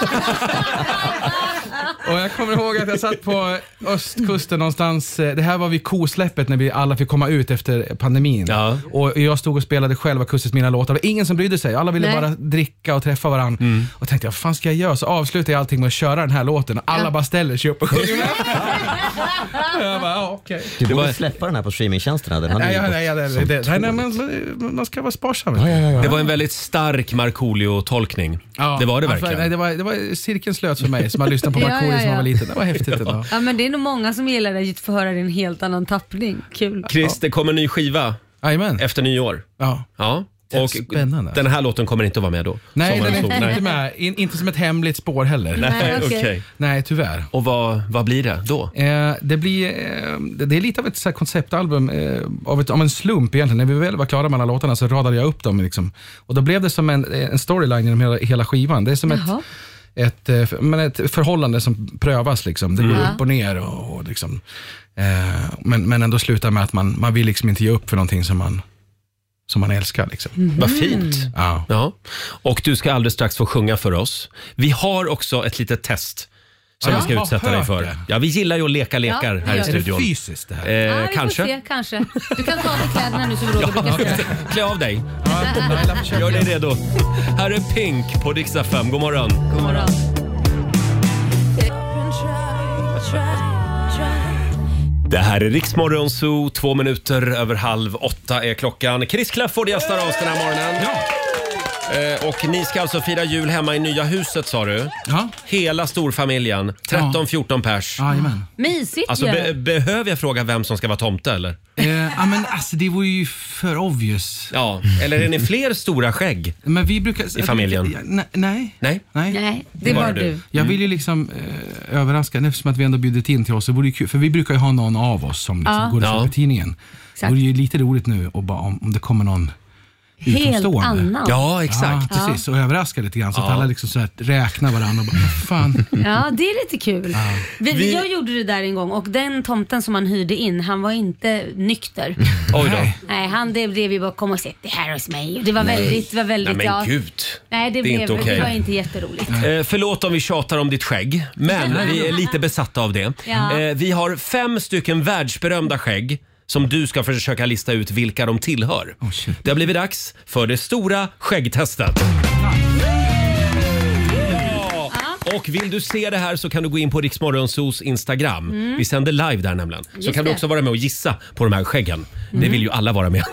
och jag kommer ihåg att jag satt på östkusten någonstans. eh, Det här var vid kosläppet när vi alla fick komma ut efter pandemin. Och jag stod och spelade själva kustens mina låtar. Det var ingen som brydde sig. Alla ville
Nej.
bara dricka och träffa varandra.
Mm.
Och tänkte, vad fan ska jag göra? Så avslutade jag allting med att köra den här låten. Och alla bara ställer sig upp och sjunger med. jag bara, ja, okej.
Du borde släppa den här på streamingtjänsterna. Den hade
Nej,
ju
ja,
gått
nej, ja, det-
som
det- nej, nej,
tåget.
men man ska vara sparsam.
Det var en väldigt stark Markoolio-tolkning.
Ja,
det var det
alltså,
verkligen.
Nej, det, var, det var cirkeln slöts för mig som har lyssnat på
Ja,
Markoolio
ja,
som jag var
ja.
liten. Det var häftigt ändå.
Ja, men det är nog många som gillar det, att få höra det i en helt annan tappning. Kul.
Chris, det kommer en ny skiva efter nyår.
Ja.
ja. Och
Spännande.
den här låten kommer inte att vara med då.
Nej,
Sommar
den
och
är
sol.
inte,
Nej.
inte med. In, inte som ett hemligt spår heller.
Nej, okej.
Nej, tyvärr.
Och vad, vad blir det då?
Eh, det, blir, eh, det det är lite av ett så här konceptalbum eh, av, ett, av en slump egentligen. När vi väl var klara med alla låtarna så radade jag upp dem. Liksom. Och då blev det som en, eh, en storyline genom hela, hela skivan. Det är som
Jaha.
ett, ett, eh, för- men ett förhållande som prövas. Liksom. Det går
Mm.
upp och ner. Och, och liksom, eh, men, men ändå slutar med att man, man vill liksom inte ge upp för någonting som man, som man älskar. Liksom. Mm.
Vad fint.
Ja.
Och du ska alldeles strax få sjunga för oss. Vi har också ett litet test som
Ja,
vi
jag
ska
har
utsätta dig
hört
för.
det.
Ja, vi gillar ju att leka lekar
Ja, det
här i
gör vi.
studion.
Är det
fysiskt det här?
Eh,
ja, vi får
kanske.
Se, kanske. Du kan ta av dig kläderna nu som Roger brukar säga.
Klä av dig. Gör dig redo. Här är Pink på Dix FM. God morgon.
God morgon.
Det här är Riksmorgon Zoo. Två minuter över halv åtta är klockan. Chris Clafford gästar oss den här morgonen. Eh, Och ni ska alltså fira jul hemma i nya huset sa du?
Ja.
Hela storfamiljen, 13-14 pers.
Jajamän.
Mysigt
Alltså,
ju.
be- behöver jag fråga vem som ska vara tomte eller?
Eh, ja, men alltså det vore ju för obvious.
Ja, eller är ni fler stora skägg
Men vi brukar...
i familjen?
Ne- nej.
Nej.
Nej.
Nej, det var du.
Mm.
Jag vill ju liksom eh, överraska, eftersom att vi ändå bjudit in till oss, så vore det kul, för vi brukar ju ha någon av oss som liksom
Ja.
går
Ja.
ut i tidningen. Det
Exakt.
vore ju lite roligt nu och bara, om, om det kommer någon
Helt
utomstående.
annan. Ja, exakt.
Ja, precis, och överraska lite grann så att
Ja.
alla liksom så här räknar varandra och bara, fan.
Ja, det är lite kul. Vi,
Vi-
Jag gjorde det där en gång och den tomten som man hyrde in, han var inte nykter.
Oj då.
Nej, han det blev ju bara kom och sätt det här hos mig. Och Det var
Nej.
väldigt, det var väldigt,
Nej, men
ja.
gud.
Nej, det,
Det är
blev,
inte okej.
det var inte jätteroligt.
Eh, förlåt om vi tjatar om ditt skägg, men vi är lite besatta av det.
Ja.
Eh, vi har fem stycken världsberömda skägg som du ska försöka lista ut vilka de tillhör. det har blivit dags för det stora skäggtestet. Ja. Och vill du se det här så kan du gå in på Riksmorgonsos Instagram.
Mm.
Vi sänder live där nämligen. Så
Just
kan du
det.
också vara med och gissa på de här skäggen. Det
Mm.
vill ju alla vara med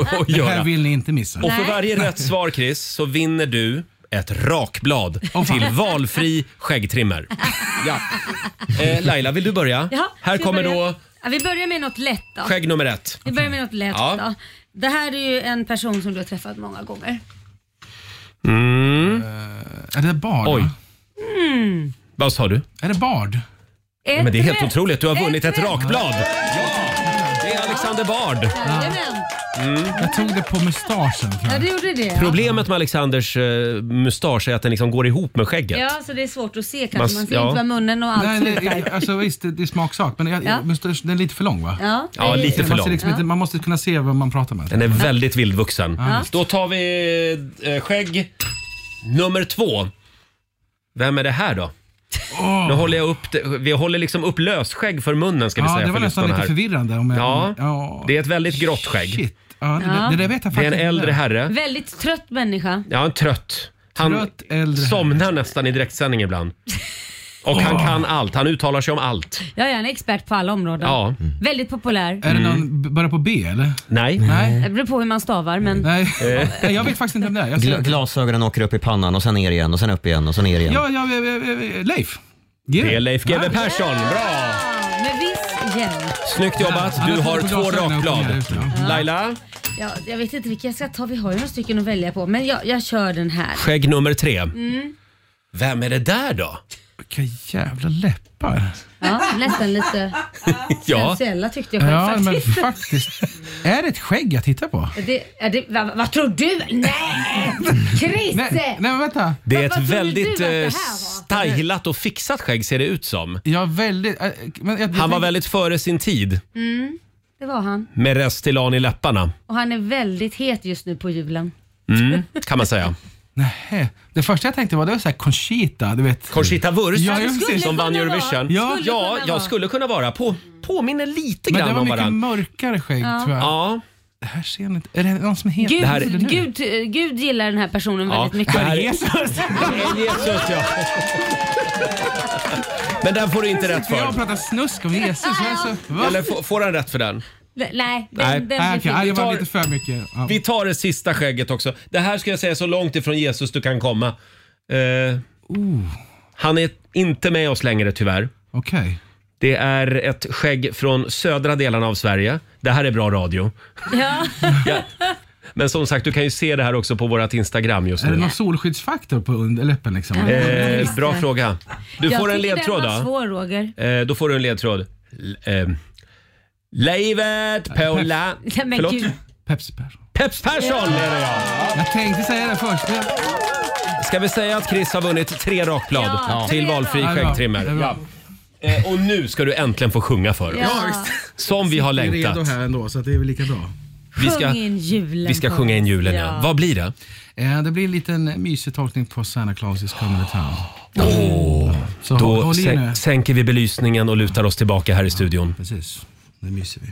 och, och
Det här
göra.
vill ni inte missa.
Och för varje rätt svar Chris så vinner du ett rakblad till valfri skäggtrimmer. Ja. Eh, Laila, vill du börja?
Jaha,
Här
vi
kommer
börjar-
då
Ja, vi börjar med något lätt då.
skägg nummer ett.
Vi börjar med något lätt
Ja.
då. Det här är ju en person som du har träffat många gånger.
Mm.
Eh, Är det Bard?
Oj,
Mm.
vad sa du?
Är det Bard?
Ett
Men det är helt
rätt.
otroligt. Du har vunnit ett
rätt.
rakblad. Det är Alexander Bard.
Jajamän.
Mm.
Jag tog det på mustaschen.
Ja, du gjorde det. ja.
Problemet med Alexanders eh, mustasch är att den liksom går ihop med skägget.
Ja, så det är svårt att se kanske.
Man
Man
s-
ser
ja.
inte vad munnen och allt
Nej, nej,
slutar.
alltså visst, det, det är smaksak, men jag,
Ja.
jag- mustaschen, den är lite för lång va?
Ja.
Ja, lite för
man
lång.
Ser liksom inte, man måste kunna se vad man pratar med.
Den är väldigt vildvuxen.
Ja.
Då tar vi eh, skägg nummer två. Vem är det här då?
Ah.
Nu håller jag upp det, vi håller liksom upp lösskägg för munnen ska vi
ja,
säga
det var
för
nästan
lyssnarna
lite
här.
förvirrande. Om jag,
Ja,
ja.
det är ett väldigt grått skägg.
Ja,
Ja.
Det, det där vet jag
Det är en
faktiskt
äldre
inte.
herre.
Väldigt trött människa.
Ja, en trött. Han
Trött äldre
somnar nästan i direktsändning ibland. Och han kan allt. Han uttalar sig om allt.
Ja, jag är en expert på alla områden.
Ja. Mm.
Väldigt populär.
Är det någon b- bara på B eller?
Nej.
Nej.
Det beror på hur man stavar men...
Nej. Nej, jag vet faktiskt inte vem det är. Jag ser-
Gla- glasögonen åker upp i pannan och sen ner igen och sen upp igen och sen ner igen.
Ja, ja, ja, ja, ja, Leif.
Det är Leif GW Persson. Bra!
Med viss hjälp.
Snyggt jobbat. Du har två rakblad.
Mm.
Laila,
Ja, jag vet inte vilka jag ska ta. Vi har ju några stycken att välja på. Men jag, jag kör den här.
skägg nummer tre.
Mm.
Vem är det där då?
Vilka jävla läppar.
Ja, nästan lite sensuella tyckte jag själv
Ja, men
faktiskt.
faktiskt. Är det ett skägg jag tittar på?
Det, ja, det, vad, vad tror du? Nej! Chris!
Nej, nej men vänta.
Det är
Vad-
ett
vad trodde
väldigt
du att det här
eh,
var?
stylat och fixat skägg ser det ut som.
Ja, väldigt. eh, Men jag,
Han var väldigt före sin tid
Mm, det var han.
med Restylane i läpparna.
Och han är väldigt het just nu på julen.
Mm, kan man säga.
Nähä. Det första jag tänkte var det var så här Conchita, du vet.
Conchita Wurst
Ja, ja, precis.
som vann Eurovision.
Ja,
ja jag skulle kunna vara. På, påminner lite
Men det
grann
var
om
mycket
varandra.
mörkare skägg
Ja.
tror jag.
Ja.
Det här ser jag inte. Är det någon som heter
Gud,
det här?
Gud, eh, Gud gillar den här personen
Ja,
väldigt mycket.
det här är Jesus. Jesus, ja. Men den får du inte rätt
Jag
för.
pratar snusk om Jesus. Jag är så, va?
Eller får, får han rätt för den?
Nej, Nej, den,
Nej. Nej,
den blir
okej,
fin.
nej,
Det
jag
var
tar-
lite för mycket. Ja.
Vi tar det sista skägget också. Det här ska jag säga så långt ifrån Jesus du kan komma. Eh, Han är inte med oss längre tyvärr.
Okej.
Det är ett skägg från södra delarna av Sverige. Det här är bra radio.
Ja.
Men som sagt, du kan ju se det här också på vårt Instagram just
Är det
nu.
någon solskyddsfaktor på underläppen liksom?
Eh, bra fråga. Du
jag
får en
tycker
ledtråd
den var
då.
svår Roger.
Eh, då får du en ledtråd. L- ehm, Livet på la...
Nej, men
Förlåt?
gud.
Peps Persson.
Peps Persson är det ja!
Jag tänkte säga det först. men-
Ska vi säga att Chris har vunnit tre rakblad
Ja,
till
tre
valfri
rakblad.
skäggtrimmer?
Ja, det är bra.
Eh, Och nu ska du äntligen få sjunga för oss.
Ja, visst.
Som vi har
Jag är
längtat.
redo här ändå, så att det är väl lika bra.
Vi ska,
Sjung in julen.
vi ska
för
sjunga in
oss.
julen ja. Vad blir det?
Eh, Det blir en liten mysig tolkning på Santa Claus is coming to town. Så håll-
Då
håll i
sä-
nu.
sänker vi belysningen och lutar oss tillbaka här i studion.
Precis, nu myser vi.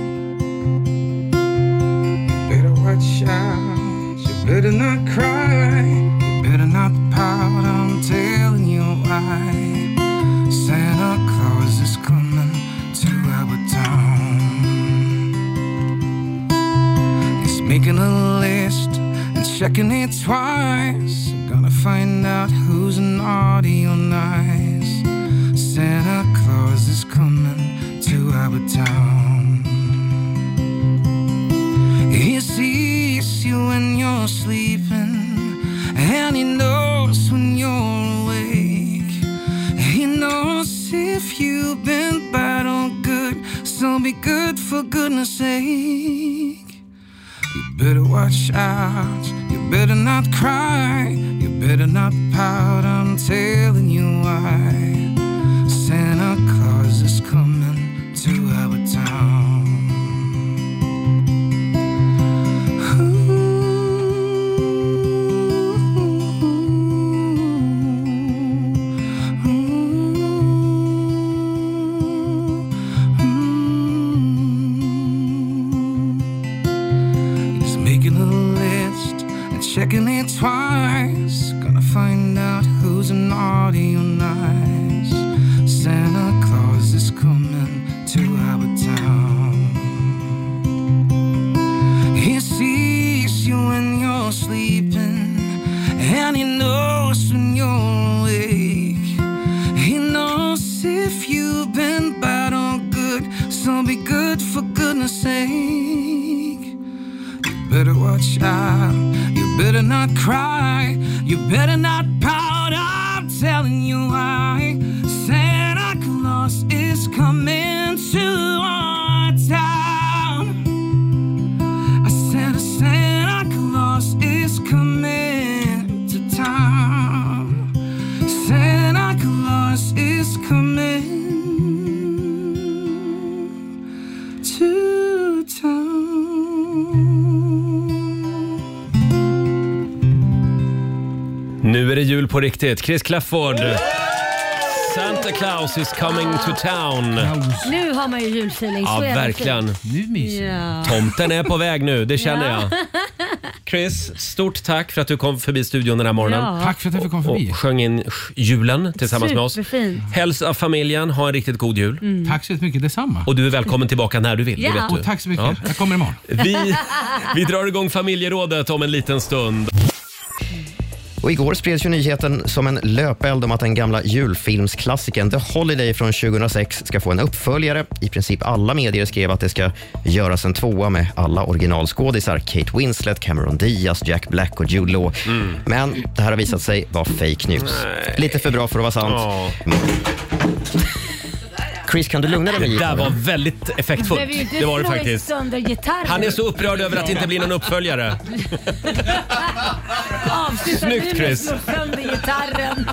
Better watch out, you better not cry, you better not pout, I'm
right. Santa Claus is coming to our town. He's making a list and checking it twice. Gonna find out who's naughty or nice. Santa Claus is coming to our town. He sees you when you're sleeping. And he knows when you're awake. He knows if you've been bad or good. So be good for goodness sake. You better watch out. You better not cry. You better not pout. I'm telling you why. Santa Claus is coming to our town. He's making a list and checking it twice. Gonna find out who's naughty or nice. Santa Claus is coming to our town. He sees you when you're sleeping, and he knows when you're awake. He knows if you've been bad or good, so be good for goodness sake. Better watch out. You better not cry. You better not pout. I'm telling you why. Santa Claus is coming to our town. I said Santa Claus is coming to town. Santa Claus is coming to town.
Nu är det jul på riktigt. Chris Clafford! Santa Claus is coming to town.
Nu har man ju julfeeling.
Ja,
så jävla
verkligen.
fint. Ja.
Tomten är på väg nu, det känner jag. Chris, stort tack för att du kom förbi studion den här morgonen.
Ja. Tack
för att jag fick komma
förbi. Och sjöng in julen tillsammans med oss.
Superfint.
Hälsa familjen, ha en riktigt god jul.
Mm.
Tack så jättemycket, detsamma.
Och du är välkommen tillbaka när du vill.
Ja.
Det vet du.
Och tack så mycket. Jag kommer imorgon.
Vi, vi drar igång familjerådet om en liten stund.
Och igår spreds ju nyheten som en löpeld om att den gamla julfilmsklassikern The Holiday från 2006 ska få en uppföljare. I princip alla medier skrev att det ska göras en tvåa med alla originalskådisar. Kate Winslet, Cameron Diaz, Jack Black och Jude Law. Men det här har visat sig vara fake news. Lite för bra för att vara sant. Chris, kan du lugna dig med
Det där
gitarren?
var väldigt effektfullt.
Behöver ju inte
Det var det
slå
faktiskt.
Sönder gitarren.
Han är så upprörd över att det inte blir någon uppföljare.
Avsluta
Snyggt,
nu med
Chris.
att slå sönder gitarren.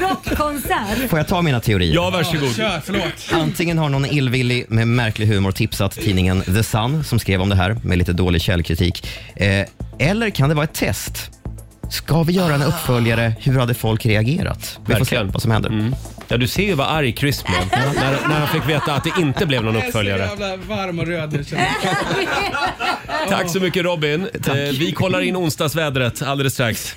Rockkonsert.
Får jag ta mina teorier?
Ja, varsågod.
Kör, förlåt.
Antingen har någon illvillig med märklig humor tipsat tidningen The Sun som skrev om det här med lite dålig källkritik. Eh, eller kan det vara ett test? Ska vi göra en uppföljare? Hur hade folk reagerat? Vi får se
Verkligen. Mm.
vad som händer.
Ja, du ser ju vad arg Chris blev när, när han fick veta att det inte blev någon uppföljare.
Jag är så jävla varm och röd nu känner jag.
Tack så mycket Robin. Eh, vi kollar in onsdagsvädret alldeles strax.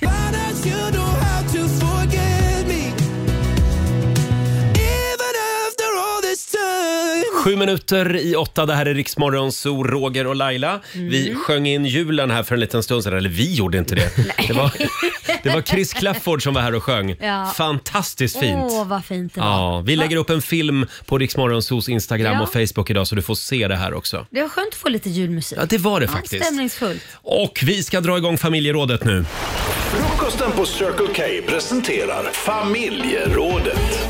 Sju minuter i åtta, det här är Riksmorgon, så Roger och Laila.
Mm.
Vi sjöng in julen här för en liten stund sedan, eller vi gjorde inte det. Det var, det var Chris Clafford som var här och sjöng.
Ja.
Fantastiskt fint.
Åh, vad fint det var.
Ja, vi lägger upp en film på Riksmorgonsos Instagram
Ja.
och Facebook idag så du får se det här också.
Det var skönt att få lite julmusik.
Ja, det var det faktiskt.
Stämningsfullt.
Och vi ska dra igång familjerådet nu.
Frukosten på Circle K presenterar familjerådet.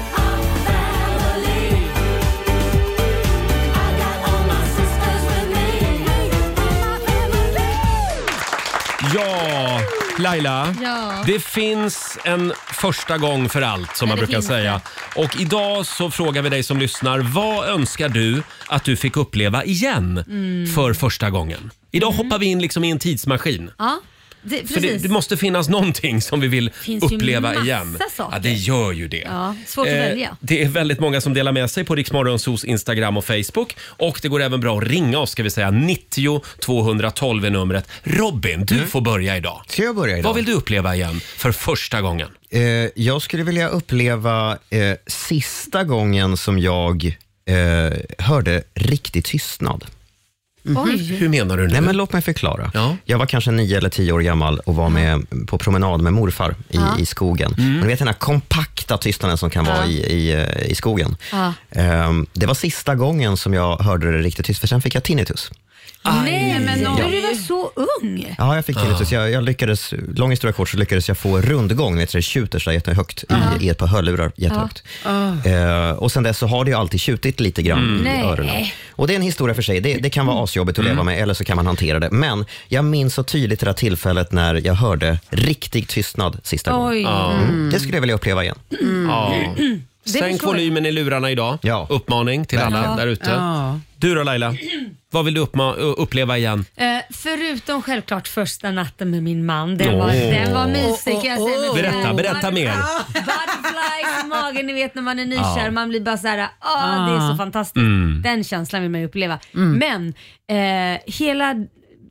Ja, Laila.
Ja.
Det finns en första gång för allt som
Ja,
man
det
brukar
finns
säga. Och idag så frågar vi dig som lyssnar, vad önskar du att du fick uppleva igen
Mm.
för första gången? Idag hoppar vi in liksom i en tidsmaskin.
Ja. Det-
För det,
precis.
det måste finnas någonting som vi vill
Finns ju
uppleva
massa
igen.
saker.
Ja, det gör ju det.
Ja, svårt att
Eh,
välja.
Det är väldigt många som delar med sig på Riksmorgonsos Instagram och Facebook. Och det går även bra att ringa oss, ska vi säga. 90 212 är numret. Robin, du får börja idag.
Mm. Ska jag börja idag?
Vad vill du uppleva igen för första gången?
Eh, jag skulle vilja uppleva eh, sista gången som jag eh, hörde riktig tystnad.
Oj. Hur
menar du nu?
Nej, men låt mig förklara. Jag var kanske nio eller tio år gammal och var med på promenad med morfar i,
Ja.
i skogen.
Mm.
Men Du vet den här kompakta tystnaden som kan vara
Ja.
i, i, eh, i skogen.
Ja.
Ehm, det var sista gången som jag hörde det riktigt tyst, för sen fick jag tinnitus.
Nej, men
Ja.
du var så ung.
Ja, jag fick
Ah.
tinnitus. Jag, jag lyckades, lång historia kort, så lyckades jag få rundgång, vet du, det tjuter sådär jättehögt i, i ett par hörlurar jättehögt.
Ah.
Ja.
Eh, och sen dess så har det ju alltid tjutit lite grann
Mm.
i
Nej. Mm.
öronen. Och det är en historia för sig. Det, det kan vara asjobbigt att leva med eller så kan man hantera det. Men jag minns så tydligt det där tillfället när jag hörde riktig tystnad sista
Oj.
gången.
Ja.
Mm. Det skulle jag vilja uppleva igen.
Ja.
Mm. Det är
Sänk
så det-
volymen i lurarna idag. Uppmaning till alla
Ja.
där ute.
Ja.
Du då Laila? Vad vill du uppma- uppleva igen?
Eh, förutom självklart första natten med min man. Den var,
Åh.
den var mysig. kan jag säga. Men det
Oh. Berätta,
var-
berätta mer.
Butterflies i magen, ni vet när man är nykär.
Ja.
Man blir bara så här, ah, det är så fantastiskt.
Mm.
Den känslan vill man ju uppleva. Men eh, hela,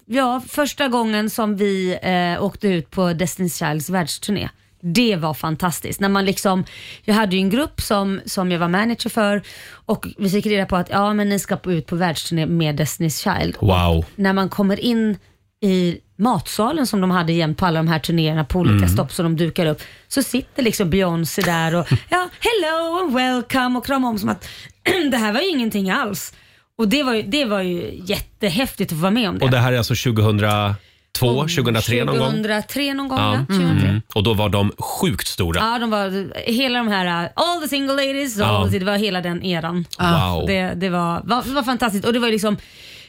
ja första gången som vi eh, åkte ut på Destiny's Childs världsturné. Det var fantastiskt. När man liksom, jag hade ju en grupp som, som jag var manager för och vi fick reda på att ja, men ni ska på- ut på världsturné med Destiny's Child
Wow.
när man kommer in i matsalen som de hade jämt på alla de här turnéerna på olika
Mm.
stopp som de dukar upp. Så sitter liksom Beyoncé där och ja, hello and welcome och kramar om som att det här var ju ingenting alls. Och det var ju, det var ju jättehäftigt att få vara med om det.
Och det här är alltså 2002, 2003 någon gång?
2003 någon gång
Ja.
ja. 2003.
Mm. Och då var de sjukt stora.
Ja, de var, hela de här, uh, all the single ladies,
Ja.
all the, det var hela den eran.
Ja. Wow.
Det, det var, var, var fantastiskt och det var ju liksom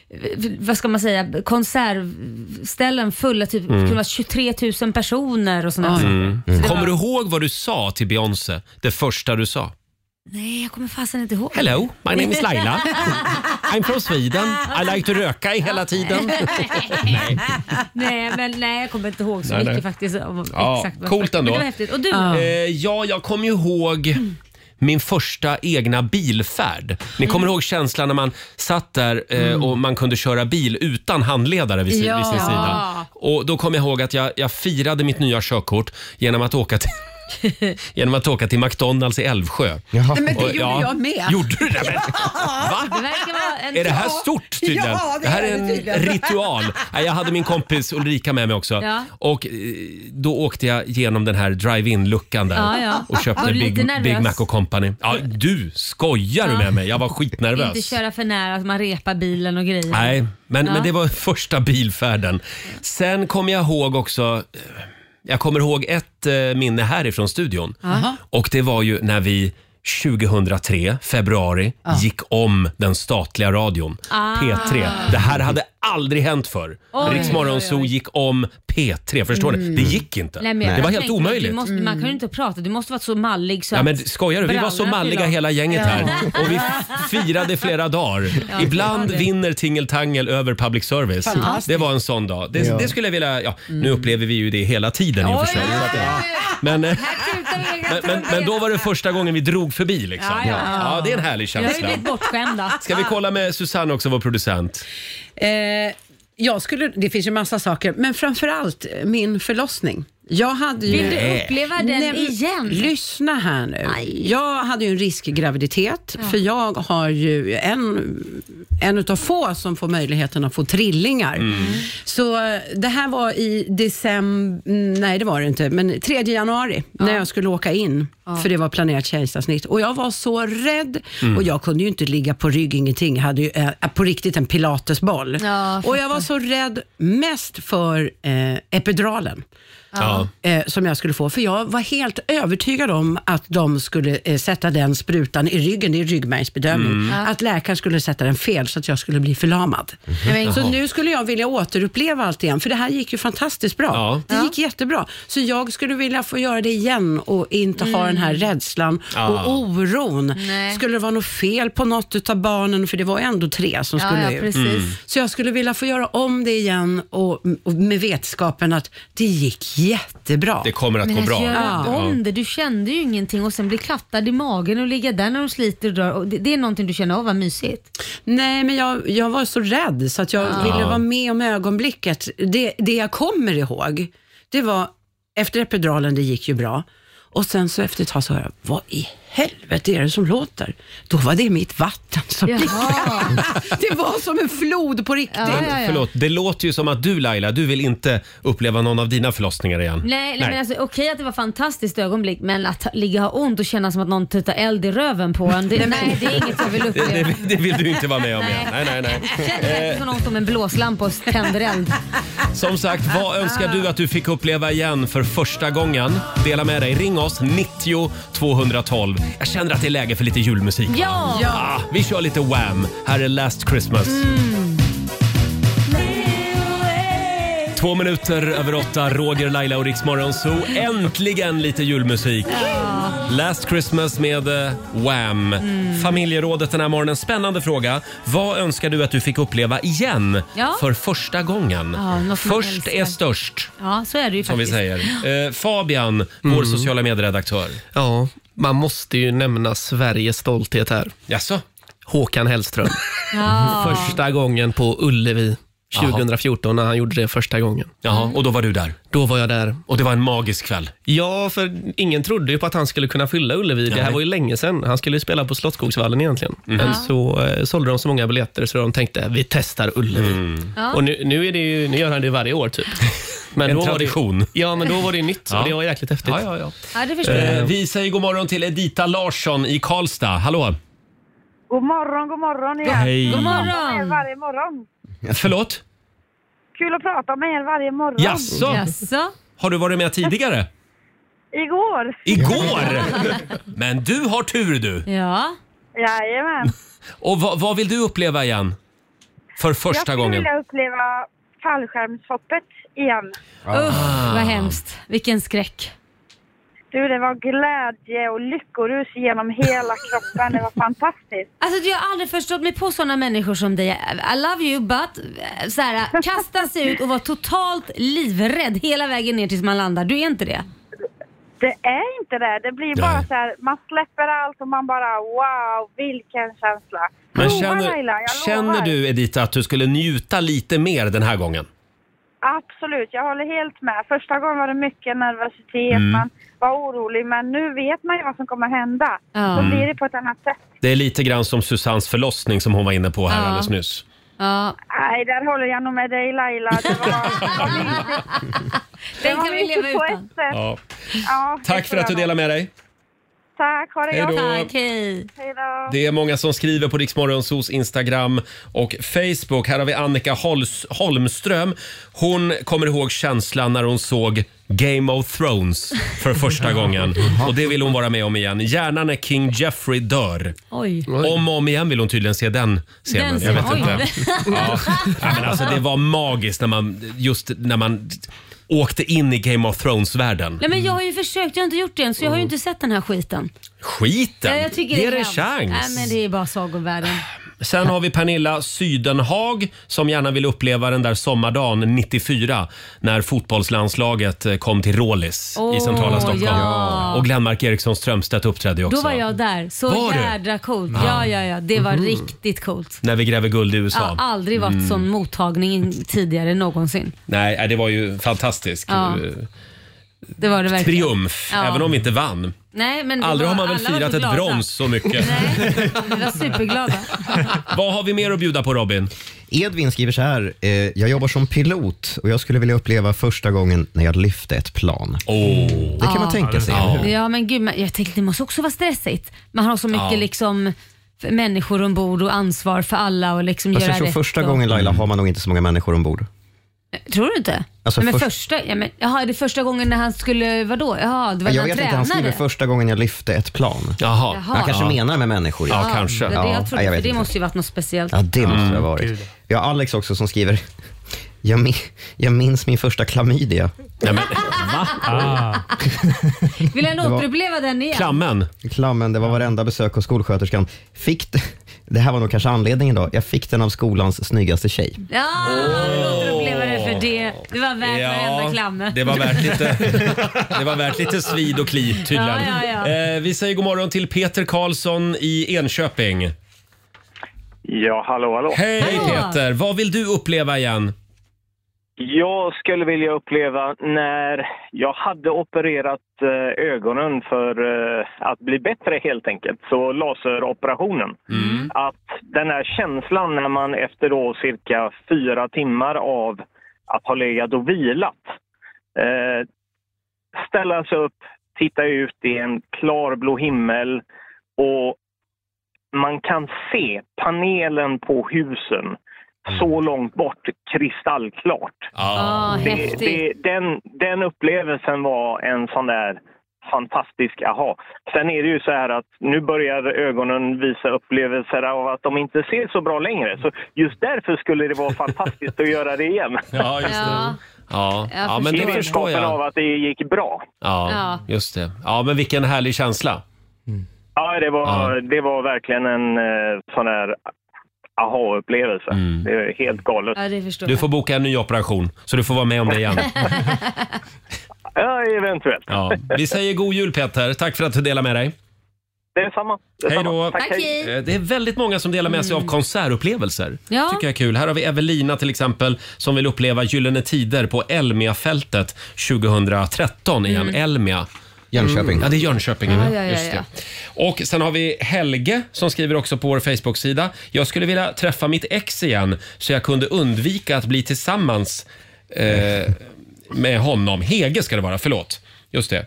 eh, vad ska man säga, konsertställen fulla, typ,
Mm.
det kunde vara 23 000 personer och sådana
Mm.
saker. Så det
Kommer
var,
du ihåg vad du sa till Beyoncé? Det första du sa?
Nej, jag kommer fasen inte ihåg.
Hello, my name is Laila. I'm from Sweden. I like to röka i hela tiden. Nej.
nej, men nej, jag kommer inte ihåg så
Nej,
mycket
nej.
faktiskt. om-
Ja,
exakt vad-
coolt
Men
ändå.
det var häftigt. Och du
ja.
då?
Eh, ja, jag kommer ju ihåg min första egna bilfärd. Ni kommer
Mm.
ihåg känslan när man satt där eh, och man kunde köra bil utan handledare vid, si- vid sin
Ja.
sida. Och då kommer jag ihåg att jag, jag firade mitt nya körkort genom att åka till Genom att åka till McDonalds i Älvsjö.
Nej, men det
Och-
gjorde jag med.
Gjorde du det? Men,
Va?
Det verkar vara en...
är det här stort tydligen?
Ja, det,
här
är
är en
det tydligen.
ritual. Nej, Jag hade min kompis Ulrika med mig också.
Ja.
Och eh, då åkte jag genom den här drive-in luckan där
Ja, ja.
och
Var
köpte
du lite
Big,
nervös?
Big Mac och Company. Ja, du, skojar du
Ja.
med mig? Jag var
Inte
skitnervös.
köra för nära, att man repar bilen och grejer.
Nej, men,
Ja.
men det var första bilfärden. Sen kom jag ihåg också, eh, jag kommer ihåg ett eh, minne härifrån studion.
Aha.
Och det var ju när vi 2003, februari, gick om den statliga radion.
Ah.
P3. Det här hade aldrig hänt förr.
Oj.
Riksmorgonzoo gick om P3. Förstår ni?
Mm.
Det gick inte.
Nej, men jag
det var
tänkte
helt
att
omöjligt.
Du måste, Man kan ju inte prata, du måste varit så mallig så
Ja, men
att
skojar du? Vi var så
brallorna
malliga
föll av.
hela gänget
Ja.
här. Och vi f- firade flera dagar.
Ja, det
Ibland
var det.
vinner Tingeltangel över public service.
Fantastiskt. Mm.
Det var en sån dag. Det,
Ja.
det skulle jag vilja... Ja, Nu upplever vi ju det hela tiden i och för sig. Så att, ja. Men, eh, men, men, men då var det första gången vi drog förbi liksom.
Ja, ja, ja.
det är en härlig
Jag har ju
känsla.
blivit bortskämda.
Ska vi kolla med Susanne också, vår producent?
Eh, jag skulle, det finns ju massa saker, men framförallt eh, min förlossning. Jag hade ju...
Vill du uppleva den igen?
Lyssna här nu. Jag hade ju en riskgraviditet,
Ja.
för jag har ju en, en utav få som får möjligheten att få trillingar.
Mm.
Mm.
Så eh, det här var i december, nej det var det inte, men 3 januari när jag skulle åka in,
Ja.
för det var planerat kejsarsnitt. Och jag var så rädd
Mm.
och jag kunde ju inte ligga på rygg, ingenting. Jag hade ju eh, på riktigt en pilatesboll.
Ja,
och jag var så rädd mest för eh, epiduralen.
Ja.
eh, som jag skulle få. För jag var helt övertygad om att de skulle eh, sätta den sprutan i ryggen, det är ryggmärgsbedömning,
Mm. Ja.
att läkaren skulle sätta den fel så att jag skulle bli förlamad.
Nej, men-
Så
Jaha.
nu skulle jag vilja återuppleva allt igen, för det här gick ju fantastiskt bra. Det gick jättebra. Så jag skulle vilja få göra det igen och inte ha den här rädslan
Ja.
och oron.
Mm. Nej.
Skulle det vara något fel på något utav barnen, för det var ju ändå tre som
Ja,
skulle
ja,
ut.
precis. Mm.
Så jag skulle vilja få göra om det igen och, och med vetskapen att det gick jättebra.
Det kommer att gå bra.
göra
Ja.
om det. Du kände ju ingenting och sen bli klattad i magen och ligga där när de sliter och drar. Och det, det är någonting du känner av, vad mysigt.
Nej, men jag, jag var så rädd så att jag
Ja.
ville vara med om ögonblicket. Det, det jag kommer ihåg, det var efter epiduralen, det gick ju bra. Och sen så efter ett tag så hör jag, vad i helvete är det som låter? Då var det mitt vatten som
Jaha.
pickade. Det var som en flod på riktigt.
Förlåt, det låter ju som att du Laila, du vill inte uppleva någon av dina förlossningar igen.
Nej, nej. Men alltså, okej att det var fantastiskt ögonblick men att ligga och ha ont och känna som att någon tuttar eld i röven på en. Det, nej, det är inget jag vill uppleva.
det, det vill du inte vara med om igen. Nej, nej,
Känner
nej.
verkligen
Eh,
som någon som en blåslampa och tänder eld.
som sagt,
Ah.
vad önskar du att du fick uppleva igen för första gången? Dela med dig. Ring oss, 90 212. Jag känner att det är läge för lite julmusik. va?
Ja. Ja.
Ah, vi kör lite Wham! Här är Last Christmas.
Mm.
Två minuter över åtta, Roger, Laila och Riksmorgon Zoo. Äntligen lite julmusik! Last Christmas med eh, Wham!
Mm.
Familjerådet den här morgonen. Spännande fråga. Vad önskar du att du fick uppleva igen
Ja.
för första gången?
Ja, något man
Först
älskar.
är störst,
Ja, så är det ju
som vi
faktiskt.
säger. Eh, Fabian, vår sociala medieredaktör.
Mm. Ja, man måste ju nämna Sveriges stolthet här.
Jaså?
Håkan Hellström.
Ja.
Första gången på Ullevi 2014 när han gjorde det första gången.
Jaha, och då var du där?
Då var jag där.
Och det var en magisk kväll?
Ja, för ingen trodde ju på att han skulle kunna fylla Ullevi. Det här
Nej.
var ju länge sedan. Han skulle ju spela på Slottskogsvallen egentligen.
Mm.
Men
Ja.
så eh, sålde de så många biljetter så de tänkte vi testar Ullevi.
Ja.
Och nu, nu, är det ju, nu gör han det varje år typ. Men
Mm. En
var det-
tradition.
ja, men då var det nytt
Ja.
och det var jäkligt häftigt.
Ja, ja, ja.
Ja, det förstår jag.
Eh, vi säger god morgon till Edita Larsson i Karlstad. Hallå!
God morgon, god morgon igen.
Hej. God morgon.
Jag pratar med er varje morgon.
Förlåt?
Kul att prata med er varje morgon.
Jaså? Har du varit med tidigare?
Igår.
Igår! Men du har tur du!
Ja.
Jajamän.
Och vad, vad vill du uppleva igen? För
jag
första
skulle
gången?
vilja uppleva fallskärmshoppet igen.
Ah.
Uff, vad hemskt. Vilken skräck.
Du, det var glädje och lyckorus genom hela kroppen. Det var fantastiskt.
Alltså jag har aldrig förstått mig på sådana människor som dig. I love you but eh, så här, kasta sig ut och vara totalt livrädd hela vägen ner tills man landar. Du är inte det?
Det är inte det. Det blir bara så här, man släpper allt och man bara wow, vilken känsla.
Men
Prova,
känner,
Laila, jag
känner
lovar.
du Edita att du skulle njuta lite mer den här gången?
Absolut, jag håller helt med. Första gången var det mycket nervositet,
Mm.
man var orolig, men nu vet man ju vad som kommer hända. Då
Mm.
blir det på ett annat sätt.
Det är lite grann som Susannes förlossning som hon var inne på här
Ja.
alldeles nyss.
Nej, där håller jag nog med dig Laila. Det var, det
Den
var
kan vi
mysigt
leva
på
utan.
ett sätt.
Ja.
Ja, det
Tack för
tror
att du
jag.
delar med dig.
Tack, ha det
Hej
gott.
då. Tack,
hej.
då.
Det är många som skriver på Riksmorgonsos Instagram och Facebook. Här har vi Annika Holls- Holmström. Hon kommer ihåg känslan när hon såg Game of Thrones för första gången. Och det vill hon vara med om igen. Gärna när King Jeffrey dör.
Oj.
Om och om igen vill hon tydligen se den scenen.
Den
Jag vet
scenen.
inte.
Oj.
Ja. Ja, men alltså, det var magiskt när man, just när man åkte in i Game of Thrones-världen.
Nej, men jag har ju försökt, jag har inte gjort det än så jag har ju inte sett den här skiten.
Skiten!
Ja, jag tycker
Ge
det
Mm. det en
hemskt. Nej,
chans. Ah,
men det är bara sagovärlden.
Sen har vi Pernilla Sydenhag som gärna vill uppleva den där sommardagen 94 när fotbollslandslaget eh, kom till Rålis
Åh,
i centrala Stockholm.
ja.
Och Glenmark Eriksson Strömstedt uppträdde ju också.
Då var jag där. Så
Var du?
jädra coolt.
Ja.
Ja, ja, ja. Det var
Mhm.
riktigt coolt.
När vi gräver guld i USA.
Jag har aldrig varit
Mm.
sån mottagning tidigare någonsin.
Nej, nej, det var ju fantastisk
Ja,
eh,
Det var det verkligen.
triumf,
Ja.
även om vi inte vann.
Nej, men det
Aldrig
var,
har man väl
alla var
firat
så
ett
glada.
brons så mycket.
Vi var superglada.
Vad har vi mer att bjuda på Robin?
Edvin skriver så här, eh, jag jobbar som pilot och jag skulle vilja uppleva första gången när jag lyfte ett plan. Det kan man
Ja.
tänka sig, eller hur?
Ja, men gud, men jag tänkte det måste också vara stressigt. Man har så mycket
Ja.
liksom för människor ombord och ansvar för alla och liksom
Fast
göra
jag tror
rätt
första
och... Eh,
gången Laila har man nog inte så många människor ombord.
Tror du inte?
Alltså,
Nej, men
först-
första, ja, men, jaha, är det första gången när han skulle, vadå? Jaha, det var när
jag
han
vet inte, han skriver
tränade?
första gången jag lyfte ett plan.
Jaha.
Han kanske
Ja.
menar med människor.
Ja, Det, är det jag trodde,
jag
för
vet
det
inte.
måste ju varit något speciellt.
Ja, det måste det ha varit. Vi har Alex också som skriver, jag, min, jag minns min första klamydia.
Nej, men,
va? Ah. Vill han
Det var-
återuppleva den igen?
Klammen, det var varenda besök hos skolsköterskan. Fick, det- det här var nog kanske anledningen då. Jag fick den av skolans snyggaste tjej.
Ja, vill återuppleva det för det. Det var värt varenda klamme.
det var värt lite, det var värt lite svid och kli tydligen.
Ja, ja, ja.
Eh, vi säger god morgon till Peter Karlsson i Enköping.
Ja, hallå, hallå.
Hej Peter! Vad vill du uppleva igen?
Jag skulle vilja uppleva när jag hade opererat eh, ögonen för eh, att bli bättre helt enkelt, så laseroperationen.
Mm.
Att den här känslan när man efter då cirka fyra timmar av att ha legat och vilat, eh, ställa sig upp, titta ut i en klarblå himmel och man kan se panelen på husen så långt bort kristallklart.
Ah,
det,
häftigt.
det, den, den upplevelsen var en sån där fantastisk aha. Sen är det ju så här att nu börjar ögonen visa upplevelser av att de inte ser så bra längre. Så just därför skulle det vara fantastiskt att göra det igen.
Ja, just det. Ja. Ja,
I
ja men det förstår
vetskapen av
jag.
att det gick bra.
Ja, just det. Ja, men vilken härlig känsla.
Ja, det var, det var verkligen en eh, sån där aha-upplevelse. Det är helt galet.
Ja, det förstår
Mm. Du får boka en ny operation så du får vara med om det igen.
Ja, eventuellt.
Ja. Vi säger god jul Peter. Tack för att du delade med dig.
Detsamma.
Hej
detsamma.
då.
Tack, Tack, hej.
Eh, Det är väldigt många som delar med sig av konsertupplevelser.
Mm. Ja.
tycker jag är kul. Här har vi Evelina till exempel som vill uppleva Gyllene Tider på Elmiafältet 2013 igen.
Mm.
Elmia. Mm.
Jönköping.
Ja, det är Jönköping.
Ja, ja, ja,
Just det.
ja.
Och sen har vi Helge som skriver också på vår Facebook-sida. Jag skulle vilja träffa mitt ex igen så jag kunde undvika att bli tillsammans eh, med honom. Hege ska det vara, förlåt. Just det.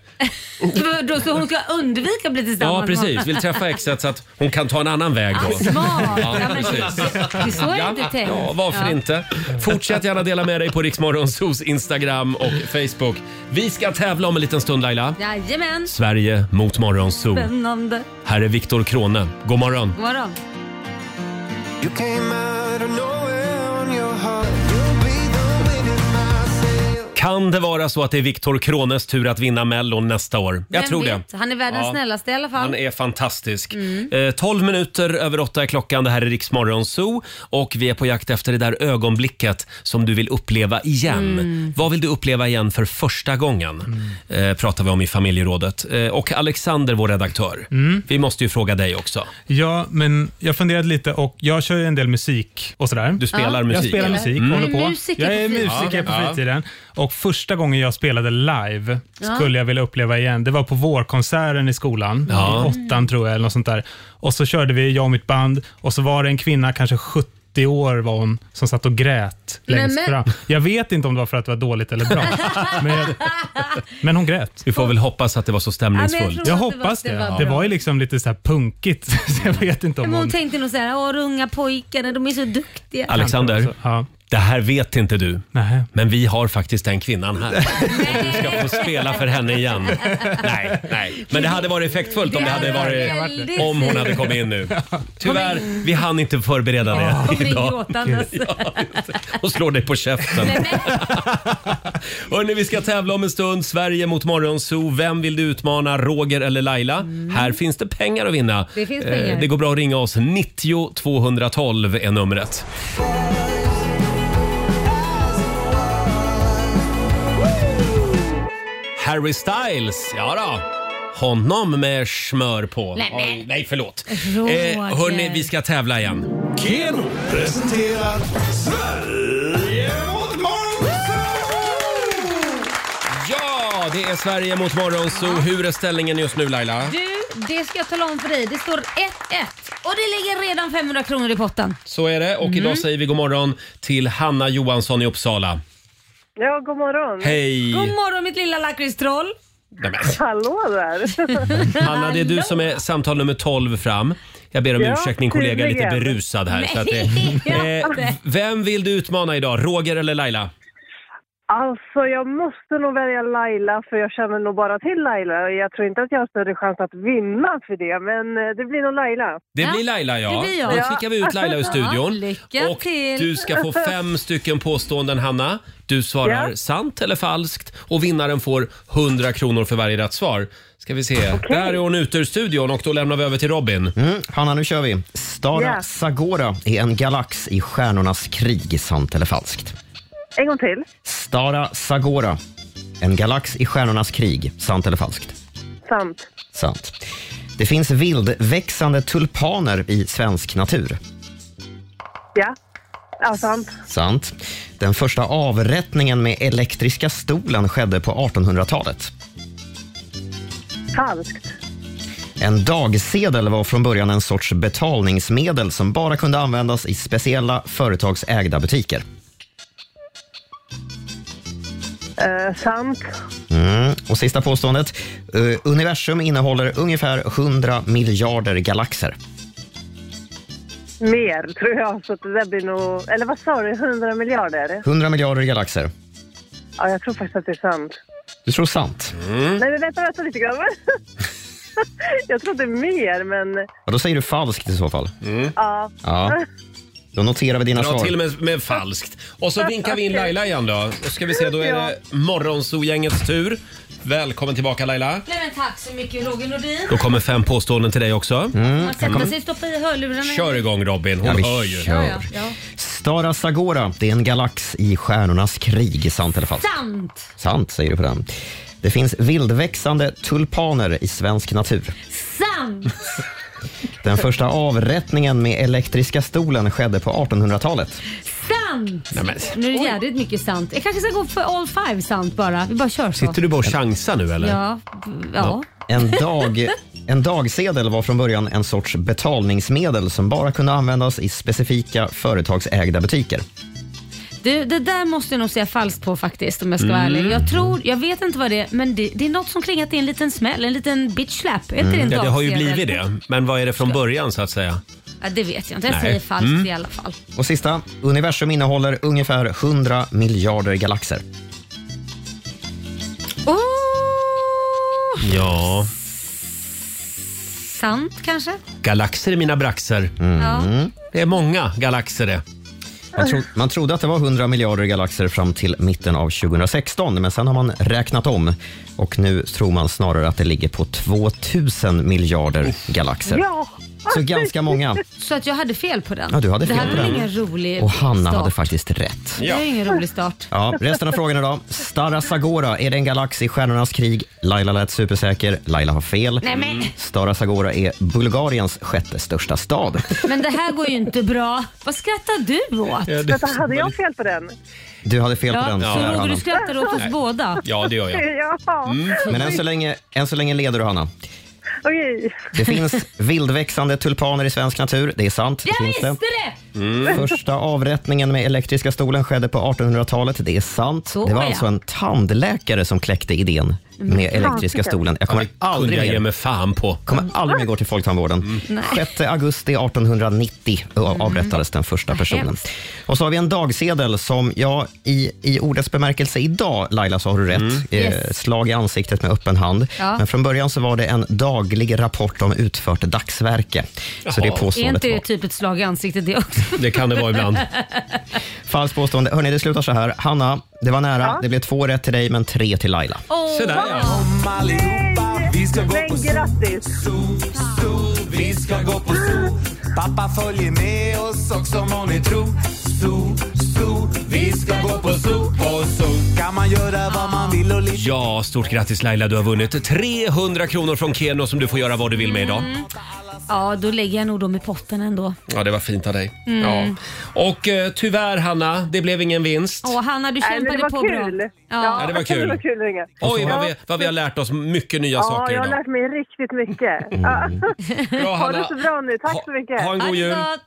Vadå, Så hon ska undvika att bli tillsammans
Ja,
med
precis.
honom?
Vill träffa exet så att hon kan ta en annan väg då.
Ah, smart.
Ja,
Ja, men
precis.
det- så är det inte tänkt.
Ja, varför
Ja.
inte? Fortsätt gärna dela med dig på Riksmorgonsos Instagram och Facebook. Vi ska tävla om en liten stund Laila.
Jajamän.
Sverige mot Morgonzoo.
Spännande.
Här är Viktor Krone. God morgon.
God morgon.
You came out of nowhere on your heart. You'll be the winner, my sail.
Kan det vara så att det är Viktor Krones tur att vinna Mellon nästa år? Jag
Vem
tror
vet?
det.
Han är världens
Ja.
snällaste i alla fall.
Han är fantastisk.
Mm.
Eh, 12 minuter över 8 är klockan. Det här är Riksmorgon Zoo och vi är på jakt efter det där ögonblicket som du vill uppleva igen.
Mm.
Vad vill du uppleva igen för första gången? Eh, pratar vi om i familjerådet. Eh, och Alexander, vår redaktör.
Mm.
Vi måste ju fråga dig också.
Ja, men jag funderade lite och jag kör ju en del musik och sådär. Du
spelar musik,
Jag spelar
eller?
musik,
Mm.
håller
Du är
på.
musiker
jag
på
är
fritiden.
musiker på
Ja.
fritiden. Och första gången jag spelade live
Ja.
skulle jag vilja uppleva igen. Det var på vårkonserten i skolan,
Ja.
i
Mm.
åttan tror jag, eller något sånt där. Och så körde vi, jag och mitt band, och så var det en kvinna, kanske 70 år var hon, som satt och grät
Nej,
längst
men-
fram. Jag vet inte om det var för att det var dåligt eller bra, men, jag, men hon grät.
Vi får väl hoppas att det var så
Ja, men
stämningsfullt.
jag tror
Jag
att det var-
hoppas det.
det var
Det var,
bra.
ju liksom lite så här punkigt. Så jag vet inte om
Men hon
hon-
tänkte nog såhär, åh de unga pojkarna de är så duktiga.
Alexander, det här vet inte du. Men vi har faktiskt den kvinnan här. Du ska få spela för henne igen. Nej, nej. Men det hade varit effektfullt om, det hade varit, om hon hade kommit in nu. Tyvärr, vi hann inte förbereda
Kom
det
in
idag.
gråtandes.
Och slår dig på käften. Hörrni, vi ska tävla om en stund. Sverige mot Morgonzoo. Vem vill du utmana? Roger eller Laila? Här finns det pengar att vinna.
Det finns pengar.
Eh, Det går bra att ringa oss. 90 212 är numret. Harry Styles, ja då. Honom med smör på.
Nej, men-
Oj, nej förlåt.
Roger.
Eh, hörni, vi ska tävla igen.
Keno presenterar Sverige mot
Ja, det är Sverige mot Morgonzoo. Hur är ställningen just nu Laila?
Du, det ska jag tala om för dig. Det står 1-1 och det ligger redan 500 kronor i potten.
Så är det och
Mm.
idag säger vi god morgon till Hanna Johansson i Uppsala.
Ja, god morgon.
Hej.
God morgon mitt lilla lakritstroll.
Nej, men. alltså.
Hallå där.
Hanna, det är du som är samtal nummer 12 fram. Jag ber om
Ja,
ursäkt, min kollega är lite
tydligen.
berusad här. Så att det,
Nej,
eh,
jag inte.
vem vill du utmana idag, Roger eller Laila?
Alltså jag måste nog välja Laila för jag känner nog bara till Laila. Jag tror inte att jag har större chans att vinna för det men eh, det blir nog Laila.
Det blir Laila ja.
det blir jag.
Då
Ja.
skickar vi ut Laila ur
Ja,
studion.
lycka
och
till.
du ska få fem stycken påståenden Hanna. Du svarar
Ja.
sant eller falskt och vinnaren får 100 kronor för varje rätt svar. Ska vi se. Där är hon ute ur studion och då lämnar vi över till Robin.
Mm, Hanna, nu kör vi. Stara
Ja.
Sagora är en galax i Stjärnornas krig, sant eller falskt?
En gång till.
Stara Sagora, en galax i Stjärnornas krig, sant eller falskt?
Sant.
Sant. Det finns vildväxande tulpaner i svensk natur.
Ja. Ja, sant.
Sant. Den första avrättningen med elektriska stolen skedde på 1800-talet.
Falskt.
En dagsedel var från början en sorts betalningsmedel som bara kunde användas i speciella företagsägda butiker.
Eh, sant.
Mm. Och sista påståendet. Eh, universum innehåller ungefär 100 miljarder galaxer.
Mer tror jag. Så att det där blir nog... Eller vad sa du? 100 miljarder?
100 miljarder galaxer.
Ja, jag tror faktiskt att det är sant.
Du tror sant?
Mm.
Nej, men vänta, vänta lite grann. jag trodde mer, men...
Ja, då säger du falskt i så fall.
Ja.
Ja. Då noterar vi dina
Dra
svar.
till med, med falskt. Och så vinkar vi in Laila igen då. Då ska vi se, då är
Ja.
det Morgonzoo-gängets tur. Välkommen tillbaka Laila.
Nej, men tack så mycket Roger Nordin.
Då kommer fem påståenden till dig också.
Mm.
Man sätter sig, stoppa i hörlurarna.
Mm, Kör igång Robin, hon
Ja, vi
hör ju.
kör.
Ja, ja.
Stara Sagora, det är en galax i Stjärnornas krig. Sant eller falskt?
Sant!
Sant, säger du på den. Det finns vildväxande tulpaner i svensk natur.
Sant!
Den första avrättningen med elektriska stolen skedde på 1800-talet.
Sant!
Nej, men-
Nu är det jädrigt mycket sant. Jag kanske ska gå för all five sant bara. Vi bara kör så.
Sitter
du bara och chansar nu
eller? Ja. ja.
En, dag, en dagsedel var från början en sorts betalningsmedel som bara kunde användas i specifika företagsägda butiker.
Du, det där måste jag nog säga falskt på faktiskt om jag ska vara
Mm.
ärlig. Jag tror, jag vet inte vad det är, men det, det är något som klingat i en liten smäll, en liten bitch slap. Är inte det en
Mm. Ja, det har ju
dagsedel?
blivit det. Men vad är det från början så att säga?
Ja, det vet jag inte. Jag
Nej.
säger falskt
Mm.
i alla fall.
Och sista, universum innehåller ungefär 100 miljarder galaxer.
Oh,
Ja,
sant kanske?
galaxer i mina braxer.
Mm.
Ja.
Det är många galaxer det.
Man, tro, man trodde att det var 100 miljarder galaxer fram till mitten av 2016, men sen har man räknat om och nu tror man snarare att det ligger på 2000 miljarder galaxer. Så ganska många.
Så att jag hade fel på den.
Ja, du hade
det
fel
här
på
var
den.
ingen rolig
Och Hanna
start.
hade faktiskt rätt.
Det är ingen rolig start.
Ja, resten av frågorna då. Stara Sagora, är det en galax i Stjärnornas krig? Laila lät supersäker. Laila har fel.
Nej, men-
Stara Sagora är Bulgariens sjätte största stad.
Men det här går ju inte bra. Vad skrattar du åt?
Ja, det- Vänta, hade
jag fel på den?
Du hade fel på
Ja,
den.
så
tyvärr,
Roger,
Hanna.
du skrattar åt oss
Nej.
båda.
Ja, det gör jag. Mm.
Ja.
Mm.
Men än så, länge, än så länge leder du, Hanna.
Okej.
Det finns vildväxande tulpaner i svensk natur. Det är sant. Det
Jag
finns
visste det!
Mm. Första avrättningen med elektriska stolen skedde på 1800-talet. Det är sant.
Så,
det var
ja.
alltså en tandläkare som kläckte idén med
Mm.
elektriska stolen. Jag kommer
Ja, det kunde
aldrig
jag ge
mer.
mig fan på. Mm.
kommer aldrig mer gå till folktandvården.
Nej.
6 augusti 1890
Mm.
avrättades den första personen.
Hemskt.
Och så har vi en dagsedel som, ja, i, i ordets bemärkelse idag, Laila, så har du rätt.
Mm.
Eh,
Yes.
Slag i ansiktet med öppen hand.
Ja.
Men från början så var det en daglig rapport om utfört dagsverke. Så det
Är
påståendet
inte det
var.
typ ett slag i ansiktet det också?
Det kan det vara ibland. Falskt påstående. Hörni, det slutar så här. Hanna, det var nära. Det blev två rätt till dig, men tre till Laila.
Åh,
Så där, ja. Kom allihopa, vi ska gå på grattis! Zoo, zoo, vi ska gå på zoo. Pappa följer med oss också må ni tro. Zoo, zoo, vi ska gå på zoo, på zoo. Kan man göra vad man vill och lite
Ja, stort grattis Laila. Du har vunnit 300 kronor från Keno som du får göra vad du vill med idag.
Mm. Ja, då lägger jag nog dem i potten ändå.
Mm. Ja, det var fint av dig.
Mm.
Ja. Och eh, tyvärr Hanna, det blev ingen vinst.
Åh, Hanna, du
Nej, men
kämpade
det var
på
kul.
bra.
Ja, det var kul.
Det var kul att ringa.
Oj, vad
Ja.
vi, vad vi har lärt oss mycket nya
Ja,
saker
jag har
idag. Mm.
lärt mig riktigt mycket. Ja.
Bra,
ha
Hanna.
det så bra nu. Tack så mycket.
ha en god Ha det jul. gott.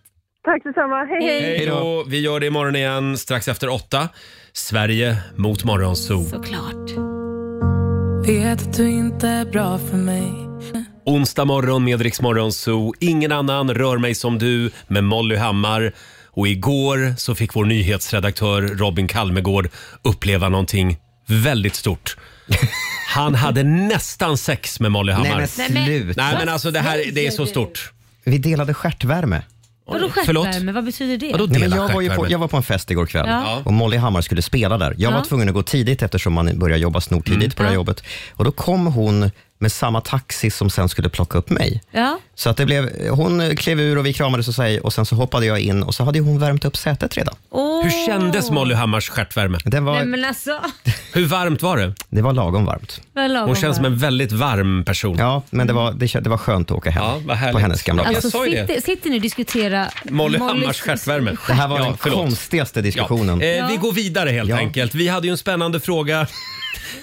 Tack detsamma. Hej, hej.
Hej då. Vi gör det imorgon igen strax efter åtta. Sverige mot Morgonzoo.
Såklart.
Vet att du inte är bra för mig
Onsdag morgon med Rix Morgonzoo. Ingen annan rör mig som du med Molly Hammar. Och igår så fick vår nyhetsredaktör Robin Kalmegård uppleva någonting väldigt stort. Han hade nästan sex med Molly Hammar.
Nej, men sluta.
Nej men alltså det här det är så stort.
Vi delade stjärtvärme.
Vadå
Förlåt?
stjärtvärme? Vad betyder det?
Nej, men jag, var ju på, jag var på en fest igår kväll
Ja.
och Molly Hammar skulle spela där. Jag
Ja. Mm.
var tvungen att gå tidigt eftersom man börjar jobba snortidigt på det här jobbet. Och då kom hon med samma taxi som sen skulle plocka upp mig.
Ja.
Så att det blev, hon klev ur och vi kramades och, sig, och sen så hoppade jag in och så hade hon värmt upp sätet redan.
Åh.
Hur kändes Molly Hammars stjärtvärme?
Den
Nej men alltså.
Hur varmt var det?
Det var lagom varmt.
vad lagom
Hon känns som
var.
en väldigt varm person.
Ja, men det var, det, kän- det var skönt att åka hem på hennes gamla plats.
Alltså sitter, sitter ni och diskuterar
Molly
Mollys-
Hammars stjärtvärme.
Det här var
Ja,
den
förlåt.
konstigaste diskussionen.
Eh, Vi går vidare helt enkelt. Vi hade ju en spännande fråga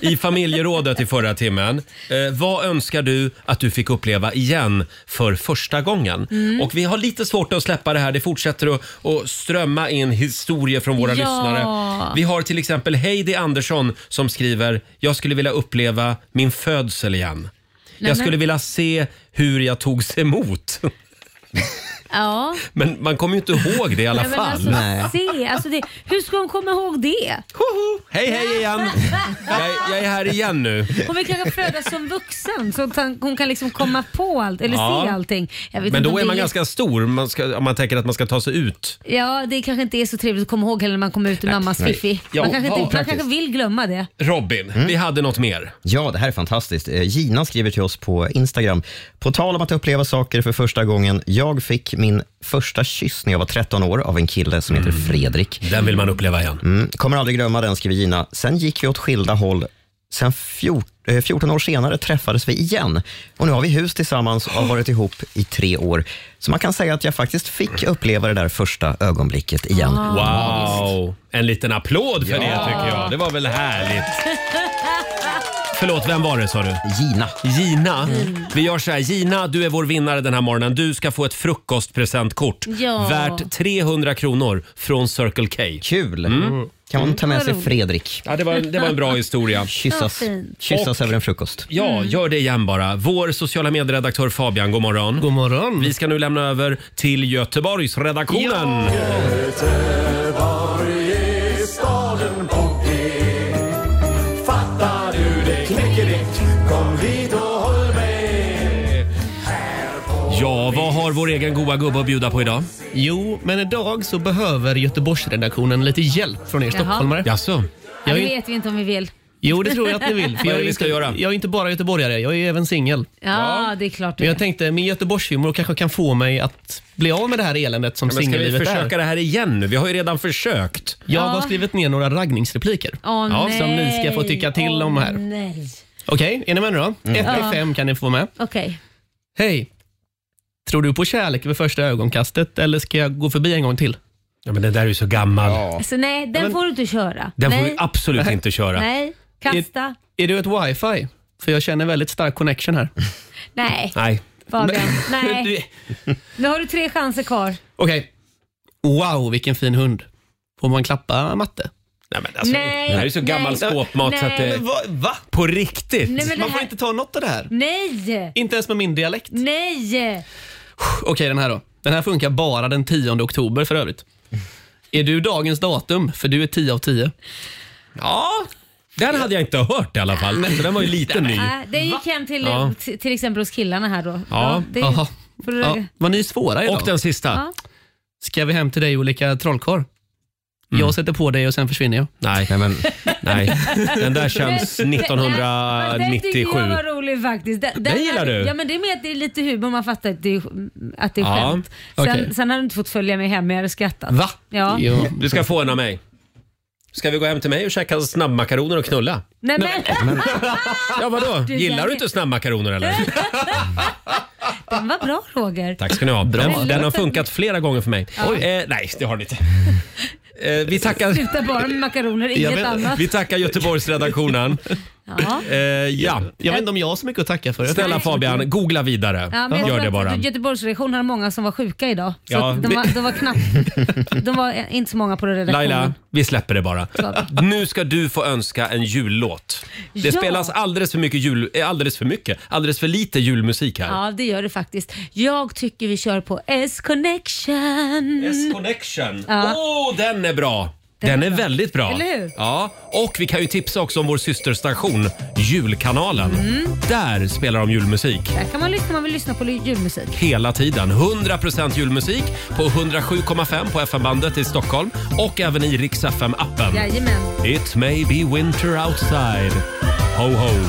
i familjerådet i förra timmen. Eh, vad önskar du att du fick uppleva igen för första gången?
Mm.
Och vi har lite svårt att släppa det här. Det fortsätter att, att strömma in historier från våra
Ja.
lyssnare. Vi har till exempel Heidi Andersson som skriver “Jag skulle vilja uppleva min födsel igen.
Nej,
jag
men-
skulle vilja se hur jag togs emot.”
Ja.
Men man kommer ju inte ihåg det i alla
Nej, men
fall.
Alltså, Se, alltså det, hur ska hon komma ihåg det?
Hej, hej igen! Jag, är- jag är här igen nu.
Hon vill kanske födas som vuxen så att han- hon kan liksom komma på allt eller
Ja.
se allting. Jag vet
Men
inte
då
om
är
det
man ganska stor man ska, om man tänker att man ska ta sig ut.
Ja, det kanske inte är så trevligt att komma ihåg heller när man kommer ut ur mammas
nej.
fiffi.
Ja,
man, kanske inte, man
faktiskt.
kanske vill glömma det.
Robin, vi hade något mer.
Mm. Ja, det här är fantastiskt. Eh, Gina skriver till oss på Instagram. På tal om att uppleva saker för första gången. Jag fick min första kyss när jag var 13 år av en kille som heter Fredrik.
Mm. Den vill man uppleva igen.
Mm. Kommer aldrig glömma den, skriver Gina. Sen gick vi åt skilda håll. Sen fjort, eh, 14 år senare träffades vi igen och nu har vi hus tillsammans och har varit ihop i tre år. Så man kan säga att jag faktiskt fick uppleva det där första ögonblicket igen. Ah.
Wow! En liten applåd för
Ja.
det tycker jag. Det var väl härligt. Förlåt, vem var det sa du?
Gina.
Gina?
Mm.
Vi gör så här. Gina, du är vår vinnare den här morgonen. Du ska få ett frukostpresentkort
Ja.
värt 300 kronor från Circle K. Mm.
Kul! Mm. Kan man ta med sig Fredrik?
Ja, det var, det var en bra historia.
Vad
Kyssas,
fint. Mm.
kyssas
Och-
över en frukost.
Ja, gör det igen bara. Vår sociala medieredaktör Fabian, god morgon. God
morgon.
Vi ska nu lämna över till Göteborgsredaktionen.
Göteborg är staden på G. Fattar du det knickedick? Kom hit och håll med.
Ja, vad har vår egen goa gubbe att bjuda på idag?
Jo, men idag så behöver Göteborgsredaktionen lite hjälp från er
Jaha.
stockholmare.
Jaså?
Ja,
Jag
det
är,
vet vi inte om vi vill.
jo, det tror jag att ni vill.
Vad är
jag,
det vi
är
ska
inte,
göra?
jag är inte bara göteborgare, jag är även singel.
Ja, det är klart
Men
det.
jag tänkte min Göteborgshumor kanske kan få mig att bli av med det här eländet som
Ja, men ska vi
singellivet är.
försöka det här igen nu? Vi har ju redan försökt.
Jag har
Ja.
skrivit ner några raggningsrepliker
Åh,
ja,
nej.
som ni ska få tycka till om
Åh,
här.
Nej.
Okej, är ni med nu då? Ett
Mm.
till
Ja.
fem kan ni få med.
Okej.
Hej! Tror du på kärlek vid första ögonkastet eller ska jag gå förbi en gång till?
Ja, men den där är ju så gammal.
Alltså, nej, den får du inte köra.
den får
nej.
vi absolut inte köra.
Nej, kasta.
Är du ett wifi? För jag känner väldigt stark connection här.
Nej,
Nej.
Fabian. Nej. Nu har du tre chanser kvar.
Okej. Wow, vilken fin hund. Får man klappa matte?
Nej, men
alltså, Nej,
det här är så gammal
nej,
skåpmat så att det-
nej.
Men Va? va?
På riktigt?
Nej, men det
man får
här-
inte ta något av det här.
Nej!
Inte ens med min dialekt.
Nej!
Okej, den här då. Den här funkar bara den 10 oktober för övrigt. Är du dagens datum? För du är 10 av 10.
Ja, den hade jag inte hört i alla fall. Så den var ju lite ny.
Nej, det gick hem till, eh,
Ja.
t- till exempel hos killarna här då. det,
Jaha.
får du-
Ja, var ni svåra idag?
Och den sista.
Ja.
Ska vi hem till dig och leka trollkarl? Jag sätter på dig och sen försvinner jag.
Mm. Nej, men, nej. den där känns
Den- den- Den tyckte
1997.
jag var rolig faktiskt. Den,
Den gillar du?
Ja men det är med att det är lite humor, man fattar att det är, att det är
Ja,
skämt. Sen,
okej.
sen har du inte fått följa med hem, jag hade skrattat.
Va?
Ja.
Du ska få en av mig. Ska vi gå hem till mig och käka snabbmakaroner och knulla?
Nej men,
Ja, vadå?
Du,
Gillar
den-
du inte snabbmakaroner eller?
den var bra Roger.
Tack ska ni ha. Den,
Förlåt.
den har funkat flera gånger för mig.
Ja.
Eh, nej, det har den inte. Eh, vi tackar...
Sluta bara med makaroner,
Jag
inget
vet-
annat.
Vi tackar Göteborgsredaktionen.
Ja.
Eh, ja.
Jag vet inte om jag har så mycket att tacka för.
Snälla Fabian, googla vidare.
Ja, men jag
Gör
tror
det
att
bara.
Göteborgsredaktionen hade många som var sjuka idag. Så
Ja,
att de,
det-
var, de var knappt... De var eh, inte så många på redaktionen.
Laila, vi släpper det bara.
Så.
Nu ska du få önska en jullåt. Det
Ja.
spelas alldeles för mycket jul, eh, alldeles för mycket, alldeles för lite julmusik här.
Ja, det gör det faktiskt. Jag tycker vi kör på S-Connection.
S-Connection. Åh,
Ja.
den är bra! Den, är väldigt bra.
Eller hur?
Ja, och vi kan ju tipsa också om vår systerstation Julkanalen.
Mm.
Där spelar de julmusik.
Där kan man lyssna om man vill lyssna på julmusik.
Hela tiden. 100% julmusik på 107,5 på FM-bandet i Stockholm och även i Rix FM-appen.
Jajamän.
It may be winter outside. Ho ho.